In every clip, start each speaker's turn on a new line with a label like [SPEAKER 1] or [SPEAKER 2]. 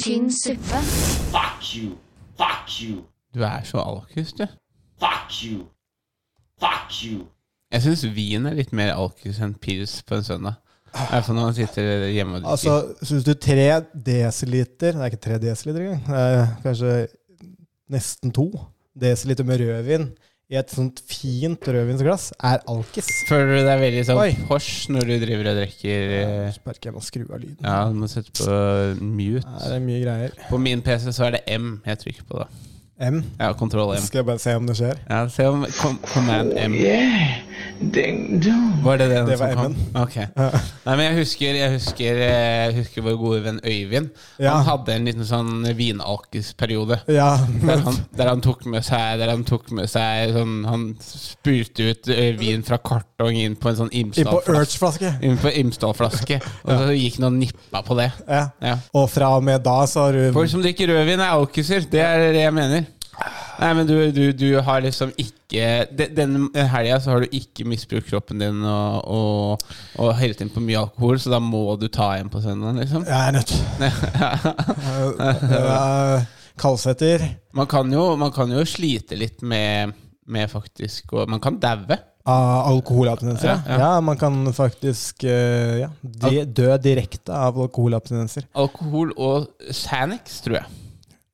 [SPEAKER 1] tynn suppe.
[SPEAKER 2] Fuck you. Fuck you.
[SPEAKER 3] Du er så alkis, du.
[SPEAKER 2] Fuck you. Fuck you.
[SPEAKER 3] Jeg syns vin er litt mer alkis enn pils på en søndag. I hvert fall når man sitter hjemme og drikker.
[SPEAKER 4] Altså, syns du tre desiliter Det er ikke tre desiliter engang. Det er kanskje nesten to desiliter med rødvin i et sånt fint rødvinsglass er alkis.
[SPEAKER 3] Føler du deg veldig sånn
[SPEAKER 4] Oi.
[SPEAKER 3] posh når du driver og drikker eh,
[SPEAKER 4] Sparker jeg må skru av lyden.
[SPEAKER 3] Ja, du må sette på
[SPEAKER 4] Her
[SPEAKER 3] mute.
[SPEAKER 4] er det mye greier.
[SPEAKER 3] På min PC så er det M jeg trykker på, da.
[SPEAKER 4] M.
[SPEAKER 3] Ja, kontroll M.
[SPEAKER 4] Skal jeg bare se om det skjer.
[SPEAKER 3] Ja, se om com Command M.
[SPEAKER 2] Yeah. Ding dong.
[SPEAKER 3] Var det den
[SPEAKER 4] Det var
[SPEAKER 3] som kom? Ok. Nei, men jeg husker, jeg, husker, eh, jeg husker vår gode venn Øyvind.
[SPEAKER 4] Ja.
[SPEAKER 3] Han hadde en liten sånn vinalkisperiode.
[SPEAKER 4] Ja,
[SPEAKER 3] Der
[SPEAKER 4] men
[SPEAKER 3] han, der han tok med seg, der han tok med seg sånn, Han spurte ut eh, vin fra kartong inn på en sånn
[SPEAKER 4] inn på
[SPEAKER 3] Imsdal-flaske.
[SPEAKER 4] Urge-flaske.
[SPEAKER 3] Inn på Imsdal-flaske. Og så gikk han og nippa på det.
[SPEAKER 4] Ja.
[SPEAKER 3] Ja.
[SPEAKER 4] Og fra og med da så har du
[SPEAKER 3] Folk som drikker rødvin, er alkiser. Det er det jeg mener. Nei, men du, du, du har liksom ikke de- Denne helga så har du ikke misbrukt kroppen din og, og, og helt inn på mye alkohol, så da må du ta en på søndagen, liksom.
[SPEAKER 4] Jeg er nødt. Eh, Kalsetter.
[SPEAKER 3] Man kan jo, man kan jo slite litt med, med faktisk og Man kan daue.
[SPEAKER 4] Av alkoholabstinenser, ja,
[SPEAKER 3] Ja,
[SPEAKER 4] ja.
[SPEAKER 3] ja.
[SPEAKER 4] man kan faktisk eh, ja, de, dø direkte av alkoholabstinenser.
[SPEAKER 3] Alkohol og Xanax, tror jeg.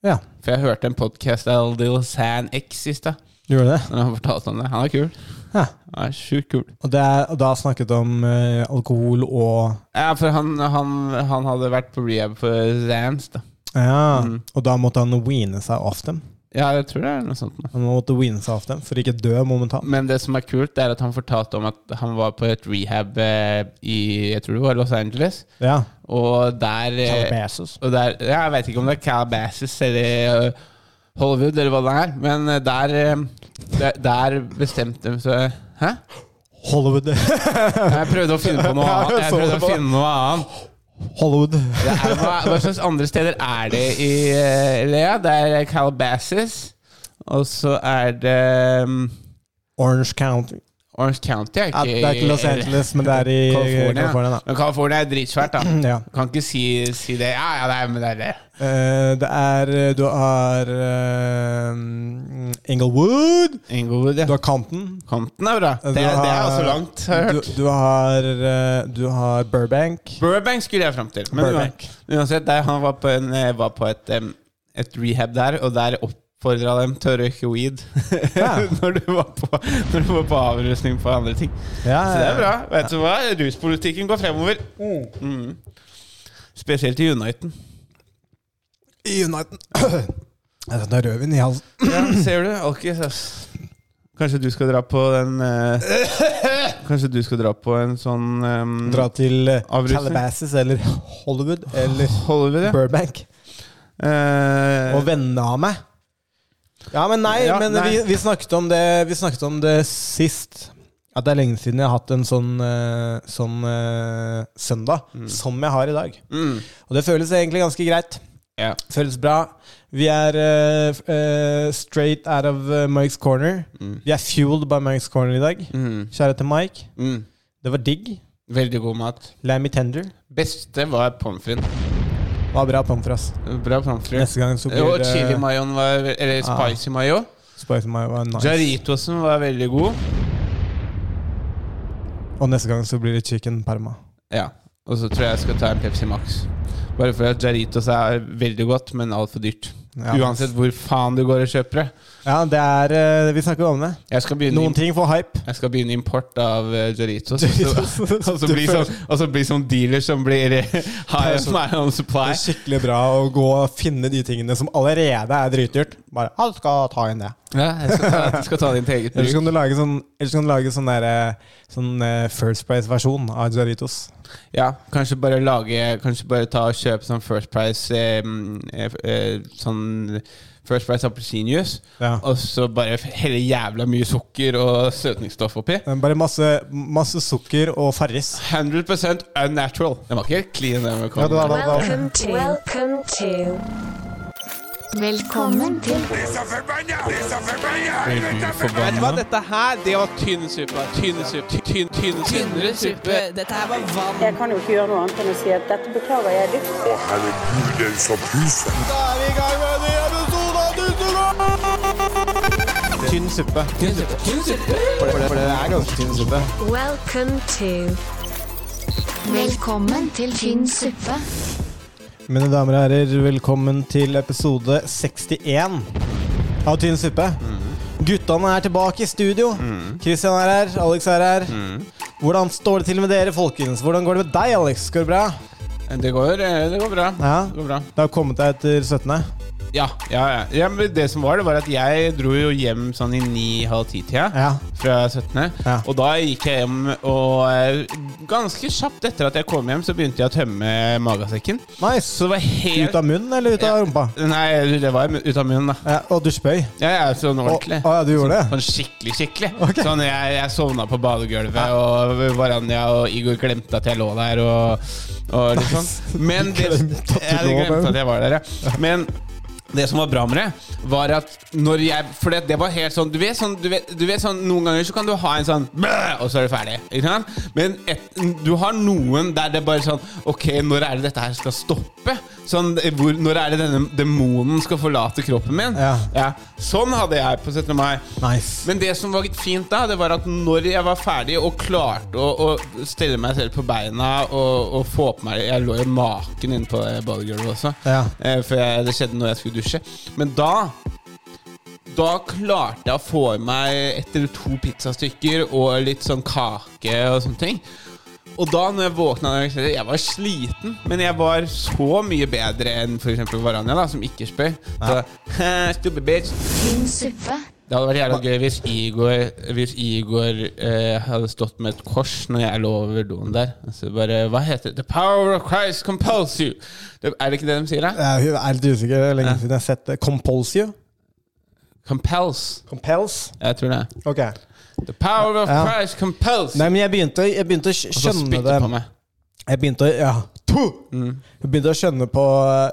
[SPEAKER 4] Ja,
[SPEAKER 3] For jeg hørte en podkast av Lil Xanax i stad.
[SPEAKER 4] gjorde det.
[SPEAKER 3] Når han fortalte om det. Han er kul.
[SPEAKER 4] Ja.
[SPEAKER 3] Han er sjukt kul.
[SPEAKER 4] Og det er og da snakket om eh, alkohol og
[SPEAKER 3] Ja, for han, han, han hadde vært på rehab for Zans, da.
[SPEAKER 4] Ja, og da måtte han weene seg av dem.
[SPEAKER 3] Ja, jeg tror det er noe sånt. nå.
[SPEAKER 4] Han måtte weene seg av dem for ikke dø momentant.
[SPEAKER 3] Men det som er kult, det er at han fortalte om at han var på et rehab eh, i jeg tror det var Los Angeles.
[SPEAKER 4] Ja.
[SPEAKER 3] Og der, eh,
[SPEAKER 4] Calabasas.
[SPEAKER 3] og der ja, Jeg vet ikke om det er Calabasas eller eh, Hollywood eller hva det er, men eh, der, eh, der, der bestemte de seg Hæ?
[SPEAKER 4] Hollywood.
[SPEAKER 3] Jeg prøvde å finne på noe
[SPEAKER 4] Ja, jeg
[SPEAKER 3] annet. Jeg
[SPEAKER 4] så
[SPEAKER 3] prøvde
[SPEAKER 4] det
[SPEAKER 3] å
[SPEAKER 4] på-
[SPEAKER 3] finne noe annet.
[SPEAKER 4] Hollywood.
[SPEAKER 3] Det er, hva, hva slags andre steder er det i eh, Lea? Det er Calabasas, og så er det mm,
[SPEAKER 4] Orange County.
[SPEAKER 3] Orange County er
[SPEAKER 4] Ja,
[SPEAKER 3] ikke,
[SPEAKER 4] det er ikke Los Angeles, men det er i
[SPEAKER 3] California.
[SPEAKER 4] Eh, California. da.
[SPEAKER 3] Men California er dritsvært, da.
[SPEAKER 4] Ja.
[SPEAKER 3] Kan ikke si, si det. Ja, ja, det er, men det er det.
[SPEAKER 4] Eh, det er eh, Du har uh, Englewood.
[SPEAKER 3] Inglewood, ja.
[SPEAKER 4] Du har Canton.
[SPEAKER 3] Compton er bra. Det,
[SPEAKER 4] Du
[SPEAKER 3] det er
[SPEAKER 4] har-
[SPEAKER 3] også langt, har jeg
[SPEAKER 4] Du,
[SPEAKER 3] hørt.
[SPEAKER 4] du, har, eh, du har Burbank.
[SPEAKER 3] Burbank skulle jeg fram til. Men
[SPEAKER 4] Burbank.
[SPEAKER 3] uan- uansett, der, han var på, en, eh, var på et, em, et rehab der, og der oppfordra dem til å røyke weed
[SPEAKER 4] Ja.
[SPEAKER 3] når, du var på, når du var på avrusning på andre ting.
[SPEAKER 4] Ja,
[SPEAKER 3] Så det er bra. Vet du hva? Ruspolitikken går fremover. Eh. Mm. Spesielt i Uniten.
[SPEAKER 4] I Uniten. Jeg setter rødvin i halsen.
[SPEAKER 3] Ja, ser du. Alkis, ass. Kanskje du skal dra på den eh, Kanskje du skal dra på en sånn em,
[SPEAKER 4] Dra til eh,
[SPEAKER 3] Avrusning.
[SPEAKER 4] Calabasas eller Hollywood eller
[SPEAKER 3] Hollywood, ja.
[SPEAKER 4] Burbank
[SPEAKER 3] Eh,
[SPEAKER 4] og vennene av meg. Ja, men nei,
[SPEAKER 3] Ja,
[SPEAKER 4] men
[SPEAKER 3] nei.
[SPEAKER 4] Vi, vi, snakket om det, vi snakket om det sist. At det er lenge siden jeg har hatt en sånn, eh, sånn eh, søndag som jeg har i dag.
[SPEAKER 3] mm,
[SPEAKER 4] Og det føles egentlig ganske greit.
[SPEAKER 3] ja.
[SPEAKER 4] Føles bra. Vi er eh, f- eh, straight out of eh, Mike's Corner.
[SPEAKER 3] Mm.
[SPEAKER 4] Vi er fueled by Mike's Corner i dag.
[SPEAKER 3] Mm,
[SPEAKER 4] Kjære til Mike.
[SPEAKER 3] mm.
[SPEAKER 4] Det var digg.
[SPEAKER 3] Veldig god mat.
[SPEAKER 4] Lammy tender.
[SPEAKER 3] Beste var pommes frites.
[SPEAKER 4] Var bra pomfras.
[SPEAKER 3] Bra pommes frites.
[SPEAKER 4] Neste gang så blir
[SPEAKER 3] Og
[SPEAKER 4] det
[SPEAKER 3] chili mayoen var Eller
[SPEAKER 4] Ah.
[SPEAKER 3] spicy mayo.
[SPEAKER 4] Spicy mayo var nice.
[SPEAKER 3] Jaritosen var veldig god.
[SPEAKER 4] Og neste gang så blir det chicken parma.
[SPEAKER 3] Ja. Og så tror jeg jeg skal ta en Pepsi Max. Bare fordi at Jaritos er veldig godt, men altfor dyrt.
[SPEAKER 4] Ja.
[SPEAKER 3] Uansett hvor faen du går og kjøper det.
[SPEAKER 4] Ja, det er eh, Vi snakker om det.
[SPEAKER 3] Jeg skal begynne,
[SPEAKER 4] Noen
[SPEAKER 3] im-
[SPEAKER 4] ting får hype.
[SPEAKER 3] jeg skal begynne import av eh, Jaritos. Og så- og så
[SPEAKER 4] Du
[SPEAKER 3] bli
[SPEAKER 4] føler-
[SPEAKER 3] sånn, og så bli sånn dealer som blir eh, high
[SPEAKER 4] Det er
[SPEAKER 3] on my own
[SPEAKER 4] Det
[SPEAKER 3] supply.
[SPEAKER 4] er skikkelig bra å gå og finne de tingene som allerede er dritdyrt. Bare han skal ta inn det.
[SPEAKER 3] Ja, jeg skal ta, jeg skal ta din til eget
[SPEAKER 4] Ellers
[SPEAKER 3] bruk.
[SPEAKER 4] kan du lage sånn, ellers kan du lage sånn, der, eh, sånn eh, First Price-versjon av Jaritos.
[SPEAKER 3] Ja, kanskje bare lage Kanskje bare ta og kjøpe sånn First Price eh, mm, eh, eh, Sånn First Price appelsinjuice,
[SPEAKER 4] Ja.
[SPEAKER 3] og så bare helle jævla mye sukker og søtningsstoff oppi.
[SPEAKER 4] Eh, Bare masse, masse sukker og Farris.
[SPEAKER 3] 100 unnatural. Den var ikke helt clean, den. vi kom
[SPEAKER 4] Ja, det var-
[SPEAKER 3] med.
[SPEAKER 1] Welcome to, welcome to Velkommen til
[SPEAKER 5] Vet du hva,
[SPEAKER 3] Forbanna.
[SPEAKER 5] dette her, det var tynn suppe. Tynn suppe. Tynn, tynn, tynnere suppe.
[SPEAKER 6] Dette her var vann.
[SPEAKER 7] Jeg kan jo ikke gjøre noe annet enn å si at dette beklager jeg dypt.
[SPEAKER 8] Å, herregud, den som puser.
[SPEAKER 4] Tynn suppe.
[SPEAKER 5] Tynn suppe. Tynn suppe.
[SPEAKER 4] For det, for det er ganske tynn suppe.
[SPEAKER 1] Welcome to Velkommen til tynn suppe.
[SPEAKER 4] Mine damer og herrer, velkommen til episode 61 av Tynn suppe. Guttene er tilbake i studio. Kristian er her, Alex er her. Hvordan står det til med dere, folkens? Hvordan går det med deg, Alex? Går det bra?
[SPEAKER 3] Det går, eh, det går bra.
[SPEAKER 4] Ja.
[SPEAKER 3] Det går bra.
[SPEAKER 4] Det har kommet deg etter 17.
[SPEAKER 3] Ja, ja, ja. ja men det som var, det var at jeg dro jo hjem sånn i ni-halv ti-tida.
[SPEAKER 4] Ja.
[SPEAKER 3] Fra 17.
[SPEAKER 4] Ja.
[SPEAKER 3] Og da gikk jeg hjem, og eh, ganske kjapt etter at jeg kom hjem, så begynte jeg å tømme magasekken.
[SPEAKER 4] Nice.
[SPEAKER 3] Så det var helt
[SPEAKER 4] Ut av munnen eller ut av
[SPEAKER 3] Ja.
[SPEAKER 4] rumpa?
[SPEAKER 3] Nei, det var ut av munnen, da.
[SPEAKER 4] Ja, og du spøy?
[SPEAKER 3] Ja, jeg er sånn
[SPEAKER 4] Å,
[SPEAKER 3] ordentlig.
[SPEAKER 4] å ja, du gjorde det?
[SPEAKER 3] Sånn skikkelig, skikkelig.
[SPEAKER 4] Ok.
[SPEAKER 3] Sånn jeg, jeg sovna på badegulvet, og Varanja og Igor glemte at jeg lå der, og, og litt sånn. Men det,
[SPEAKER 4] Glemte at du
[SPEAKER 3] jeg hadde
[SPEAKER 4] lå
[SPEAKER 3] glemt
[SPEAKER 4] der.
[SPEAKER 3] at jeg var der, ja. Men det som var bra med det, var at når jeg For det, det var helt sånn Du vet sånn, du vet, du vet sånn Noen ganger så kan du ha en sånn «Bæ!» Og så er du ferdig. Ikke sant? Men et, du har noen der det bare sånn Ok, når er det dette her skal stoppe? Sånn, hvor, når er det denne demonen skal forlate kroppen min?
[SPEAKER 4] Ja.
[SPEAKER 3] Sånn hadde jeg på 17. mai.
[SPEAKER 4] Nice.
[SPEAKER 3] Men det som var fint da, det var at når jeg var ferdig og klarte å, å stelle meg selv på beina og, og få på meg Jeg lå jo maken inne på det badegulvet også,
[SPEAKER 4] Ja.
[SPEAKER 3] eh, for jeg, det skjedde når jeg skulle dusje. Men da da klarte jeg å få i meg ett eller to pizzastykker og litt sånn kake og sånne ting. Og da når jeg våkna dagen etter, Jeg var sliten, men jeg var så mye bedre enn f.eks. Varanja, da, som ikke spør. Så, stupid bitch.
[SPEAKER 1] Tynn suppe.
[SPEAKER 3] Det hadde vært jævla gøy hvis Igor, hvis Igor eh, hadde stått med et kors når jeg lå over doen der. Så bare, Hva heter det? The power of Christ compels you! Det, er det ikke det de sier, da?
[SPEAKER 4] Jeg er litt usikker. det er Lenge siden jeg har sett det. Compels you?
[SPEAKER 3] Compels.
[SPEAKER 4] Compels?
[SPEAKER 3] Jeg tror det. er.
[SPEAKER 4] Ok.
[SPEAKER 3] The power of
[SPEAKER 4] Ja.
[SPEAKER 3] Christ compels you!
[SPEAKER 4] Nei, men jeg begynte, jeg begynte å skj-
[SPEAKER 3] Og så
[SPEAKER 4] skjønne
[SPEAKER 3] spytter
[SPEAKER 4] det.
[SPEAKER 3] på meg. Mm.
[SPEAKER 4] Jeg begynte å Ja. Puh! Jeg begynte å skjønne på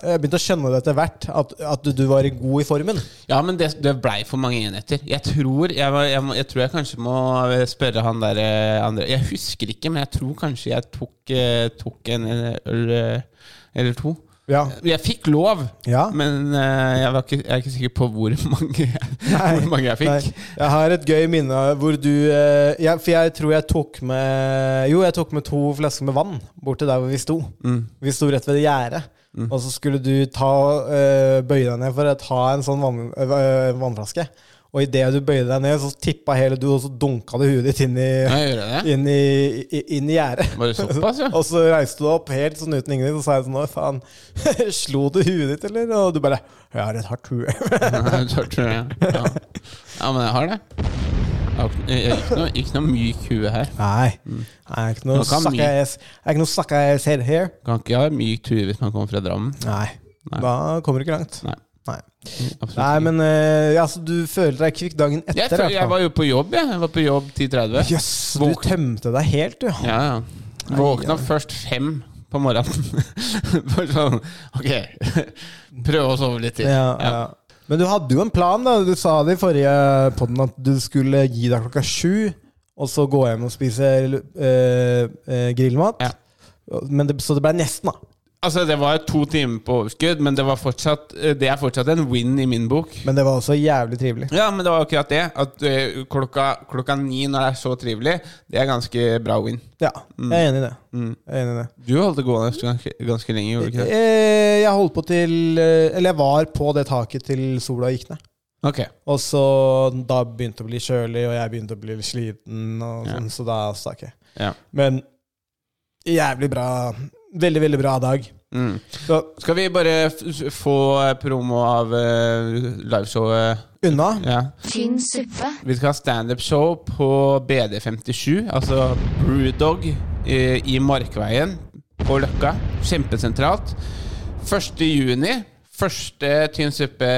[SPEAKER 4] Jeg begynte å skjønne det etter hvert, at, at du, du var i god i formen.
[SPEAKER 3] Ja, men det, det blei for mange enheter. Jeg tror jeg, var- jeg, må- jeg tror jeg kanskje må spørre han der eh, andre Jeg husker ikke, men jeg tror kanskje jeg tok, eh, tok en eh, øl eh, eller to.
[SPEAKER 4] Ja.
[SPEAKER 3] Jeg fikk lov,
[SPEAKER 4] Ja.
[SPEAKER 3] men eh, jeg, var ikke, jeg er ikke sikker på hvor mange jeg, hvor mange jeg fikk.
[SPEAKER 4] Nei. Jeg har et gøy minne av hvor du eh, jeg, For jeg tror jeg tok med Jo, jeg tok med to flasker med vann bort til der hvor vi sto.
[SPEAKER 3] Mm.
[SPEAKER 4] Vi sto rett ved det gjerdet. Og så skulle du ta, eh, bøye deg ned for å ta en sånn vann, eh, vannflaske. Og idet du bøyde deg ned, så tippa hele du, og så dunka du huet ditt inn i,
[SPEAKER 3] Ja, gjør jeg det?
[SPEAKER 4] inn i, i, inn i gjerdet.
[SPEAKER 3] Var det såpass, ja?
[SPEAKER 4] Og så reiste du opp helt sånn uten ingenting, og sa jeg sånn Å, faen, slo du huet ditt, eller? Og du bare Jeg har et hardt hue.
[SPEAKER 3] Nei, jeg tror- tror jeg. Ja. ja, men jeg har det. Jeg har ikke- jeg- Ikke noe, ikke noe myk hue her.
[SPEAKER 4] Nei. Det er ikke noe
[SPEAKER 3] Mm. Nå kan
[SPEAKER 4] suck
[SPEAKER 3] vi-
[SPEAKER 4] ass Det er ikke noe suck ass head here.
[SPEAKER 3] Kan ikke ha mykt hue hvis man kommer fra Drammen.
[SPEAKER 4] Nei.
[SPEAKER 3] Nei.
[SPEAKER 4] Da kommer du ikke langt.
[SPEAKER 3] Nei.
[SPEAKER 4] Nei,
[SPEAKER 3] Absolutt
[SPEAKER 4] Nei
[SPEAKER 3] ikke.
[SPEAKER 4] men eh, altså, du føler deg kvikk dagen etter?
[SPEAKER 3] jeg,
[SPEAKER 4] i hvert
[SPEAKER 3] føl- jeg
[SPEAKER 4] fall.
[SPEAKER 3] var jo på jobb, jeg. Jeg var på jobb 10.30.
[SPEAKER 4] Jøss, du
[SPEAKER 3] Våkn-
[SPEAKER 4] tømte deg helt, du.
[SPEAKER 3] Ja, ja. Våkna først fem på morgenen. Bare sånn Ok, prøve å sove litt til.
[SPEAKER 4] Ja, ja. Men du hadde jo en plan, da. Du sa det i forrige podden at du skulle gi deg klokka sju, og så gå hjem og spise eh, eh, grillmat.
[SPEAKER 3] Ja.
[SPEAKER 4] Men det, så det ble nesten, da.
[SPEAKER 3] Altså, det var to timer på overskudd, men det, var fortsatt, eh, det er fortsatt en win i min bok.
[SPEAKER 4] Men det var også jævlig trivelig.
[SPEAKER 3] Ja, men det var akkurat det. At eh, klokka, klokka ni når det er så trivelig, det er ganske bra win.
[SPEAKER 4] Ja,
[SPEAKER 3] Mm.
[SPEAKER 4] jeg er enig i det. Jeg er enig i det.
[SPEAKER 3] Du holdt det gående ganske, ganske lenge, gjorde du ikke det?
[SPEAKER 4] Eh, Jeg holdt på til eh, Eller jeg var på det taket til sola gikk ned.
[SPEAKER 3] Ok.
[SPEAKER 4] Og så da begynte det å bli kjølig, og jeg begynte å bli litt sliten, og sånn, så da stakk jeg.
[SPEAKER 3] Ja.
[SPEAKER 4] Men jævlig bra. Veldig, veldig bra dag.
[SPEAKER 3] Mm.
[SPEAKER 4] Så
[SPEAKER 3] Skal vi bare f s- få eh, promo av eh, liveshowet?
[SPEAKER 4] unna.
[SPEAKER 3] Ja.
[SPEAKER 1] Tynn suppe.
[SPEAKER 3] Vi skal ha standup-show på BD57, altså Brewdog, eh, i Markveien på Løkka. Kjempesentralt. 1. juni, første Tynn suppe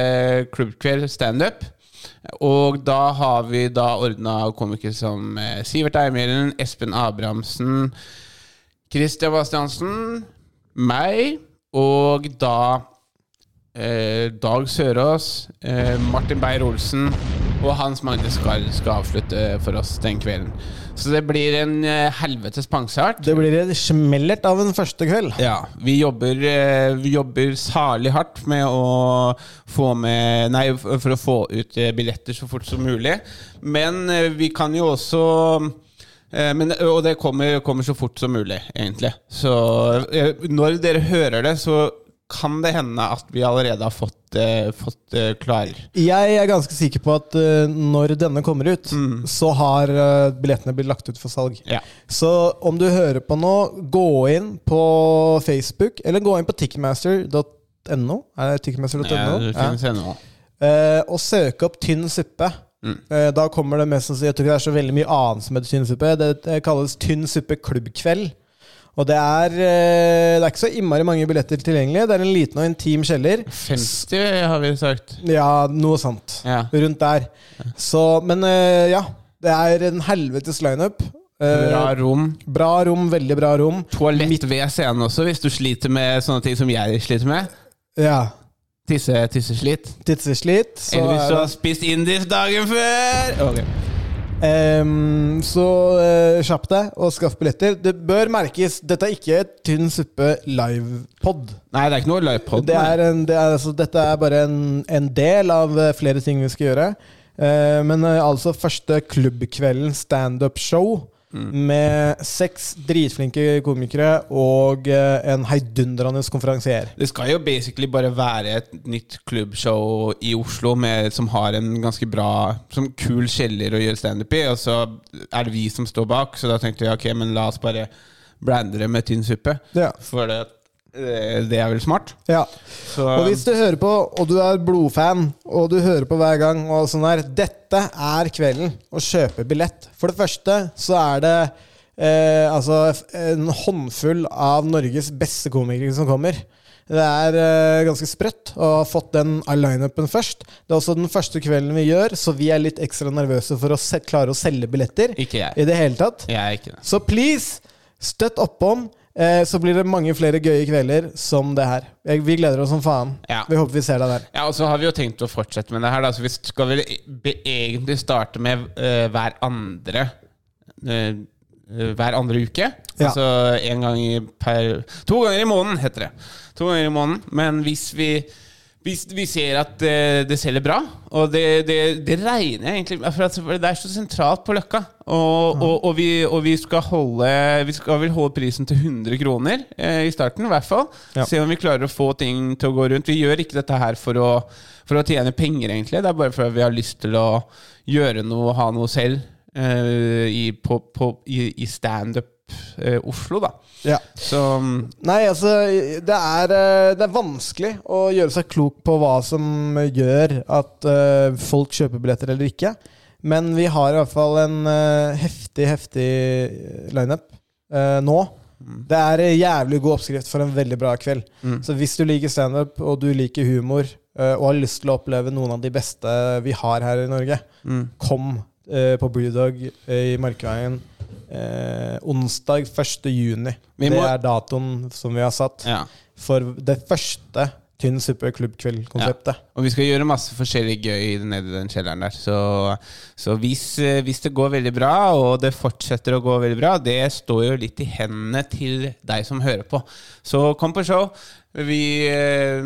[SPEAKER 3] klubbkveld standup. Og da har vi da ordna komikere som eh, Sivert Eimeren, Espen Abrahamsen, Christian Bastiansen, meg, og da eh, Dag Sørås, eh, Martin Beyer-Olsen og Hans Magne Skar skal avslutte for oss den kvelden. Så det blir en eh, helvetes pangstart.
[SPEAKER 4] Det blir et smellert av en første kveld.
[SPEAKER 3] Ja, vi jobber, eh, vi jobber særlig hardt med å få med Nei, for å få ut eh, billetter så fort som mulig. Men eh, vi kan jo også eh, men, og det kommer, kommer så fort som mulig, egentlig. Så eh, når dere hører det, så kan det hende at vi allerede har fått, eh, fått eh, klarer.
[SPEAKER 4] Jeg er ganske sikker på at eh, når denne kommer ut, så har eh, billettene blitt lagt ut for salg.
[SPEAKER 3] Mm. Ja.
[SPEAKER 4] Så om du hører på nå, gå inn på Facebook, eller gå inn på tickmaster.no. Er det tickmaster.no?
[SPEAKER 3] Ja, det
[SPEAKER 4] Ja.
[SPEAKER 3] finnes ennå.
[SPEAKER 4] Eh, og søke opp tynn suppe.
[SPEAKER 3] Mm.
[SPEAKER 4] Eh, da kommer det mest sannsynlig Jeg tror ikke det er så veldig mye annet som heter tynn suppe. Det eh, kalles tynn suppe klubbkveld. Og det er, eh, det er ikke så innmari mange billetter tilgjengelig. Det er en liten og intim kjeller.
[SPEAKER 3] 50 har vi sagt.
[SPEAKER 4] Ja, noe sant.
[SPEAKER 3] Ja.
[SPEAKER 4] Rundt der. Så, men eh, ja. Det er en helvetes lineup. Eh,
[SPEAKER 3] Bra rom.
[SPEAKER 4] bra rom, veldig bra rom.
[SPEAKER 3] Toalett ved scenen også, hvis du sliter med sånne ting som jeg sliter med.
[SPEAKER 4] Ja.
[SPEAKER 3] Tisse, tisseslit.
[SPEAKER 4] Tidseslit. Så,
[SPEAKER 3] Eller hvis
[SPEAKER 4] er
[SPEAKER 3] du
[SPEAKER 4] det-
[SPEAKER 3] har spist indisk dagen før! Ok.
[SPEAKER 4] Ehm, så eh, kjapp deg og skaff billetter. Det bør merkes, dette er ikke et tynn suppe livepod.
[SPEAKER 3] Nei, det er ikke noe livepod.
[SPEAKER 4] Det er en, det er, altså, dette er bare en, en del av eh, flere ting vi skal gjøre. Eh, men eh, altså første klubbkvelden standup-show Mm. med seks dritflinke komikere og eh, en heidundrende konferansier.
[SPEAKER 3] Det skal jo basically bare være et nytt klubbshow i Oslo med, som har en ganske bra Som kul kjeller å gjøre standup i, og så er det vi som står bak. Så da tenkte jeg ok, men la oss bare brande det med tynn suppe.
[SPEAKER 4] Ja.
[SPEAKER 3] For det, eh, det er vel smart.
[SPEAKER 4] Ja.
[SPEAKER 3] Så,
[SPEAKER 4] Og hvis du hører på, og du er blodfan, og du hører på hver gang og sånn der, Dette er kvelden å kjøpe billett. For det første så er det eh, altså f- en håndfull av Norges beste komikere som kommer. Det er eh, ganske sprøtt å ha fått den lineupen først. Det er også den første kvelden vi gjør, så vi er litt ekstra nervøse for å se klare å selge billetter.
[SPEAKER 3] Ikke jeg.
[SPEAKER 4] I det hele tatt.
[SPEAKER 3] Jeg er ikke det.
[SPEAKER 4] Så please, støtt oppom. Eh, så blir det mange flere gøye kvelder som det her. Jeg, vi gleder oss som faen.
[SPEAKER 3] Ja.
[SPEAKER 4] Vi håper vi ser deg der.
[SPEAKER 3] Ja, og så har vi jo tenkt å fortsette med det her. Da. Så vi skal vel be- egentlig starte med eh, hver andre eh, eh, Hver andre uke.
[SPEAKER 4] Ja.
[SPEAKER 3] Altså en gang i per To ganger i måneden, heter det. To ganger i måneden. Men hvis vi hvis vi ser at eh, det selger bra, og det, det, det regner jeg egentlig med, for at Det er så sentralt på Løkka. Og, og, og, vi, og vi skal holde Vi skal vel holde prisen til 100 kroner eh, i starten, i hvert fall.
[SPEAKER 4] Ja.
[SPEAKER 3] Se om vi klarer å få ting til å gå rundt. Vi gjør ikke dette her for å, for å tjene penger, egentlig. Det er bare fordi vi har lyst til å gjøre noe, ha noe selv eh, i, på, på, i, i standup eh, Oslo, da.
[SPEAKER 4] Ja.
[SPEAKER 3] Så mm,
[SPEAKER 4] Nei, altså, det er, eh, det er vanskelig å gjøre seg klok på hva som gjør at eh, folk kjøper billetter eller ikke. Men vi har i hvert fall en eh, heftig, heftig lineup eh, nå.
[SPEAKER 3] Mm.
[SPEAKER 4] Det er en jævlig god oppskrift for en veldig bra kveld. Så hvis du liker standup, og du liker humor, eh, og har lyst til å oppleve noen av de beste vi har her i Norge,
[SPEAKER 3] Mm.
[SPEAKER 4] kom eh, på Brewdog eh, i Markveien eh, onsdag 1. juni.
[SPEAKER 3] Vi
[SPEAKER 4] det
[SPEAKER 3] må-
[SPEAKER 4] er datoen som vi har satt
[SPEAKER 3] ja.
[SPEAKER 4] for det første Tynn suppe klubbkveld-konseptet.
[SPEAKER 3] Og vi skal gjøre masse forskjellig gøy nede i den kjelleren der. Så, så hvis, eh, hvis det går veldig bra, og det fortsetter å gå veldig bra, det står jo litt i hendene til deg som hører på. Så kom på show. Vi eh,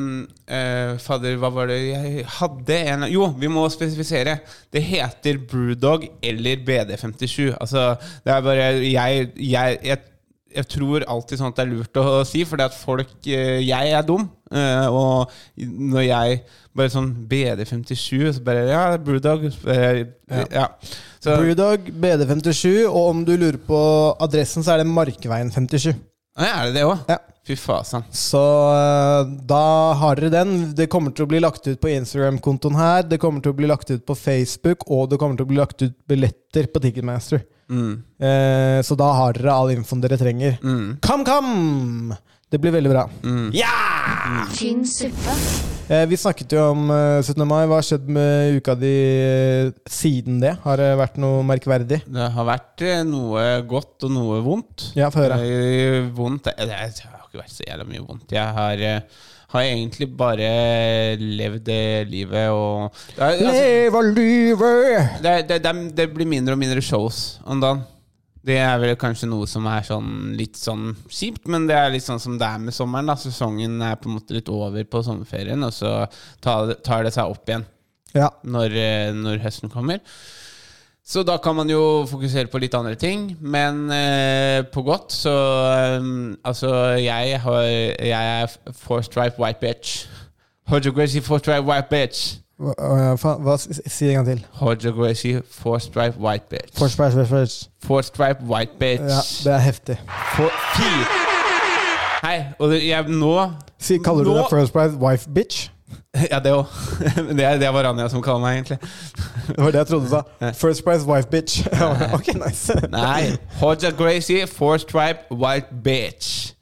[SPEAKER 3] eh, Fadder, hva var det jeg hadde en Jo, vi må spesifisere. Det heter Brewdog eller BD57. Altså, det er bare Jeg, jeg, jeg jeg tror alltid sånn at det er lurt å si, fordi at folk eh, Jeg er dum. eh, Og når jeg bare sånn BD57, så bare Ja, Brewdog. så bare, Ja. Så,
[SPEAKER 4] Brewdog BD57, og om du lurer på adressen, så er det Markveien 57.
[SPEAKER 3] ja, er det det òg?
[SPEAKER 4] Ja.
[SPEAKER 3] Fy fasan.
[SPEAKER 4] Så eh, da har dere den. Det kommer til å bli lagt ut på Instagram-kontoen her, det kommer til å bli lagt ut på Facebook, og det kommer til å bli lagt ut billetter på Ticketmaster. Eh, så da har dere all infoen dere trenger. Come, come! Det blir veldig bra.
[SPEAKER 1] Tynn suppe.
[SPEAKER 4] Eh, vi snakket jo om eh, 17. mai. Hva har skjedd med uka di eh, siden det? Har det vært noe merkverdig?
[SPEAKER 3] Det har vært eh, noe godt og noe vondt.
[SPEAKER 4] Ja, få høre.
[SPEAKER 3] Eh, Vondt eh, Det har ikke vært så jævla mye vondt. Jeg har eh, har egentlig bare levd det livet og det, er, altså,
[SPEAKER 4] Leve livet!
[SPEAKER 3] det, er- det, det, er- det blir mindre og mindre shows om dagen. Det er vel kanskje noe som er sånn litt sånn kjipt, men det er litt sånn som det er med sommeren. da Sesongen er på en måte litt over på sommerferien, og så tar det- tar det seg opp igjen
[SPEAKER 4] Ja.
[SPEAKER 3] når, eh, når høsten kommer. Så da kan man jo fokusere på litt andre ting, men eh, på godt så eh, Altså, jeg, har, jeg er four-stripe white bitch. Hojogreshi four-stripe white bitch.
[SPEAKER 4] Hva, hva, faen- hva, si si en gang til.
[SPEAKER 3] Hojogreshi four-stripe white bitch.
[SPEAKER 4] Forspress, forspress.
[SPEAKER 3] Four-stripe white bitch.
[SPEAKER 4] Ja, det er heftig.
[SPEAKER 3] For- fy! Hei, og det, jeg, nå
[SPEAKER 4] Si, kaller du
[SPEAKER 3] Nå-
[SPEAKER 4] deg First Price Wife Bitch?
[SPEAKER 3] Ja, det òg. Det, er- det var Anja som kaller meg, egentlig.
[SPEAKER 4] Det var det jeg trodde du sa. First Price Wife Bitch. ok, nice.
[SPEAKER 3] Nei. Hodja Gracie, four stripe, white bitch.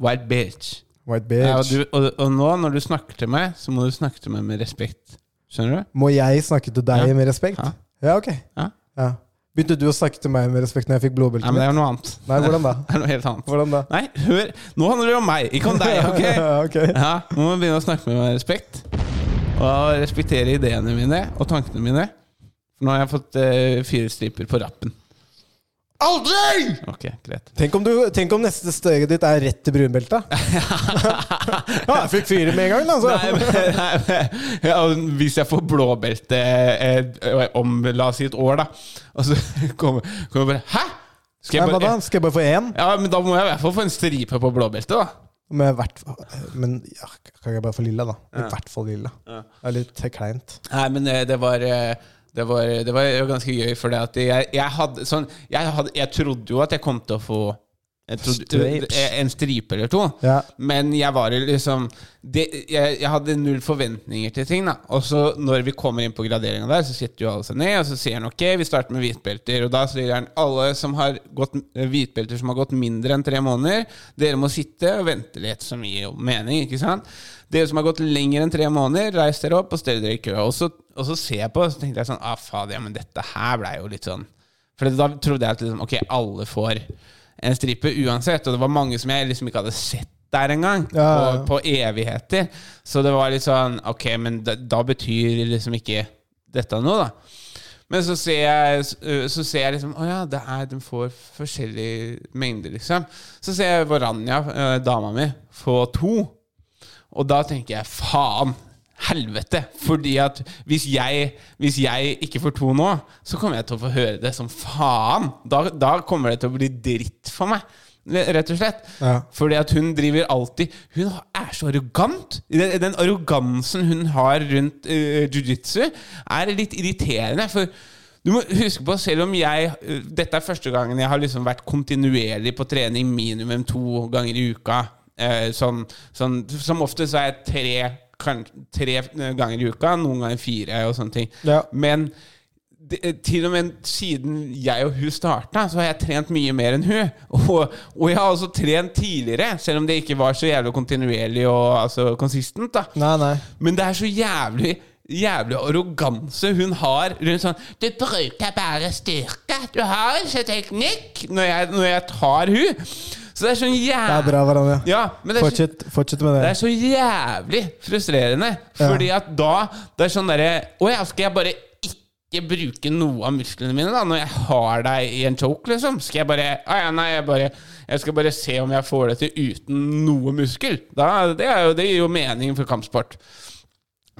[SPEAKER 3] White bitch.
[SPEAKER 4] White
[SPEAKER 3] Ja, og, du,
[SPEAKER 4] bitch.
[SPEAKER 3] og, og nå, når du snakker til meg, så må du snakke til meg med respekt. Skjønner du?
[SPEAKER 4] Må jeg snakke til deg
[SPEAKER 3] Ja.
[SPEAKER 4] med respekt?
[SPEAKER 3] Ja.
[SPEAKER 4] Ja, ok.
[SPEAKER 3] Ja.
[SPEAKER 4] Ja. Begynte du å snakke til meg med respekt når jeg fikk
[SPEAKER 3] Nei,
[SPEAKER 4] blodbeltet
[SPEAKER 3] men det
[SPEAKER 4] mitt?
[SPEAKER 3] er noe annet.
[SPEAKER 4] Nei, hvordan da?
[SPEAKER 3] Det er noe helt annet.
[SPEAKER 4] Hvordan da?
[SPEAKER 3] Nei, hør! Nå handler det om meg, ikke om deg, ok?
[SPEAKER 4] Ja, ok.
[SPEAKER 3] Ja, nå må vi begynne å snakke med meg med respekt. Og respektere ideene mine og tankene mine. For nå har jeg fått eh, fire striper på rappen.
[SPEAKER 4] Aldri!
[SPEAKER 3] Ok, greit.
[SPEAKER 4] Tenk om, du, tenk om neste steget ditt er rett til brunbeltet. ja, jeg fikk fire med en gang, da. altså. Så.
[SPEAKER 3] Nei, men, nei, men ja, Hvis jeg får blåbelte eh, eh, om la oss si et år, da, og så kommer, kommer jeg bare Hæ?! Skal
[SPEAKER 4] Nei,
[SPEAKER 3] jeg
[SPEAKER 4] hva da?
[SPEAKER 3] bare,
[SPEAKER 4] Skal jeg bare få én?
[SPEAKER 3] ja, men da må jeg i hvert fall få en stripe på blåbeltet, da.
[SPEAKER 4] Men, hvert, men ja, kan jeg bare få lilla, da? I hvert fall lilla. Det er litt kleint.
[SPEAKER 3] Nei, men eh, det var eh, det var, det var jo ganske gøy, for det at jeg, jeg hadde sånn jeg, hadde, jeg trodde jo at jeg kom til å få jeg trodde,
[SPEAKER 4] Stripes.
[SPEAKER 3] en stripe eller to.
[SPEAKER 4] Ja.
[SPEAKER 3] Men jeg var jo liksom det, jeg, jeg hadde null forventninger til ting. da Og så når vi kommer inn på graderinga der, så sitter jo alle seg ned, og så sier han ok, vi starter med hvitbelter. Og da sier han alle som har gått eh, hvitbelter som har gått mindre enn tre måneder, dere må sitte og vente litt, som gir jo mening, ikke sant? Dere som har gått lenger enn tre måneder, reis dere opp og stell dere i kø. Og så, og så ser jeg på, og så tenkte jeg sånn ah, fader, ja, men dette her blei jo litt sånn for da trodde jeg at liksom, ok, alle får en stripe uansett. Og det var mange som jeg liksom ikke hadde sett der engang,
[SPEAKER 4] Ja, ja, ja.
[SPEAKER 3] på, på evigheter. Så det var litt sånn Ok, men da, da betyr liksom ikke dette noe, da. Men så ser jeg, så ser jeg liksom Å ja, det er, de får forskjellige mengder, liksom. Så ser jeg Varanja, eh, dama mi, få to. Og da tenker jeg faen, helvete. Fordi at hvis jeg, hvis jeg ikke får to nå, så kommer jeg til å få høre det som faen. Da, da kommer det til å bli dritt for meg. Rett og slett.
[SPEAKER 4] Ja.
[SPEAKER 3] Fordi at hun driver alltid Hun er så arrogant! Den, den arrogansen hun har rundt eh, jiu-jitsu, er litt irriterende. For du må huske på, selv om jeg eh, Dette er første gangen jeg har liksom vært kontinuerlig på trening minimum to ganger i uka. Eh, sånn, sånn, som oftest er jeg tre, kan, tre eh, ganger i uka, noen ganger fire og sånne ting.
[SPEAKER 4] Ja.
[SPEAKER 3] Men det, eh, til og med siden jeg og hun starta, så har jeg trent mye mer enn hun. Og, og jeg har også trent tidligere, selv om det ikke var så jævlig kontinuerlig og altså, konsistent. da
[SPEAKER 4] Nei, nei.
[SPEAKER 3] men det er så jævlig Jævlig arroganse hun har rundt sånn 'Du bruker bare styrke. Du har ikke teknikk.' Når jeg, når jeg tar hun Så det er sånn
[SPEAKER 4] Det er
[SPEAKER 3] jævlig
[SPEAKER 4] bra, Varanja.
[SPEAKER 3] ja, men det er så-
[SPEAKER 4] Fortsett, fortsett med
[SPEAKER 3] det
[SPEAKER 4] det.
[SPEAKER 3] er så jævlig frustrerende.
[SPEAKER 4] Ja.
[SPEAKER 3] Fordi at da Det er sånn derre Å ja, skal jeg bare ikke bruke noe av musklene mine da når jeg har deg i en choke, liksom? Skal jeg bare Å ja, nei, jeg bare Jeg skal bare se om jeg får det til uten noe muskel. Da, det, er jo, det gir jo mening for kampsport.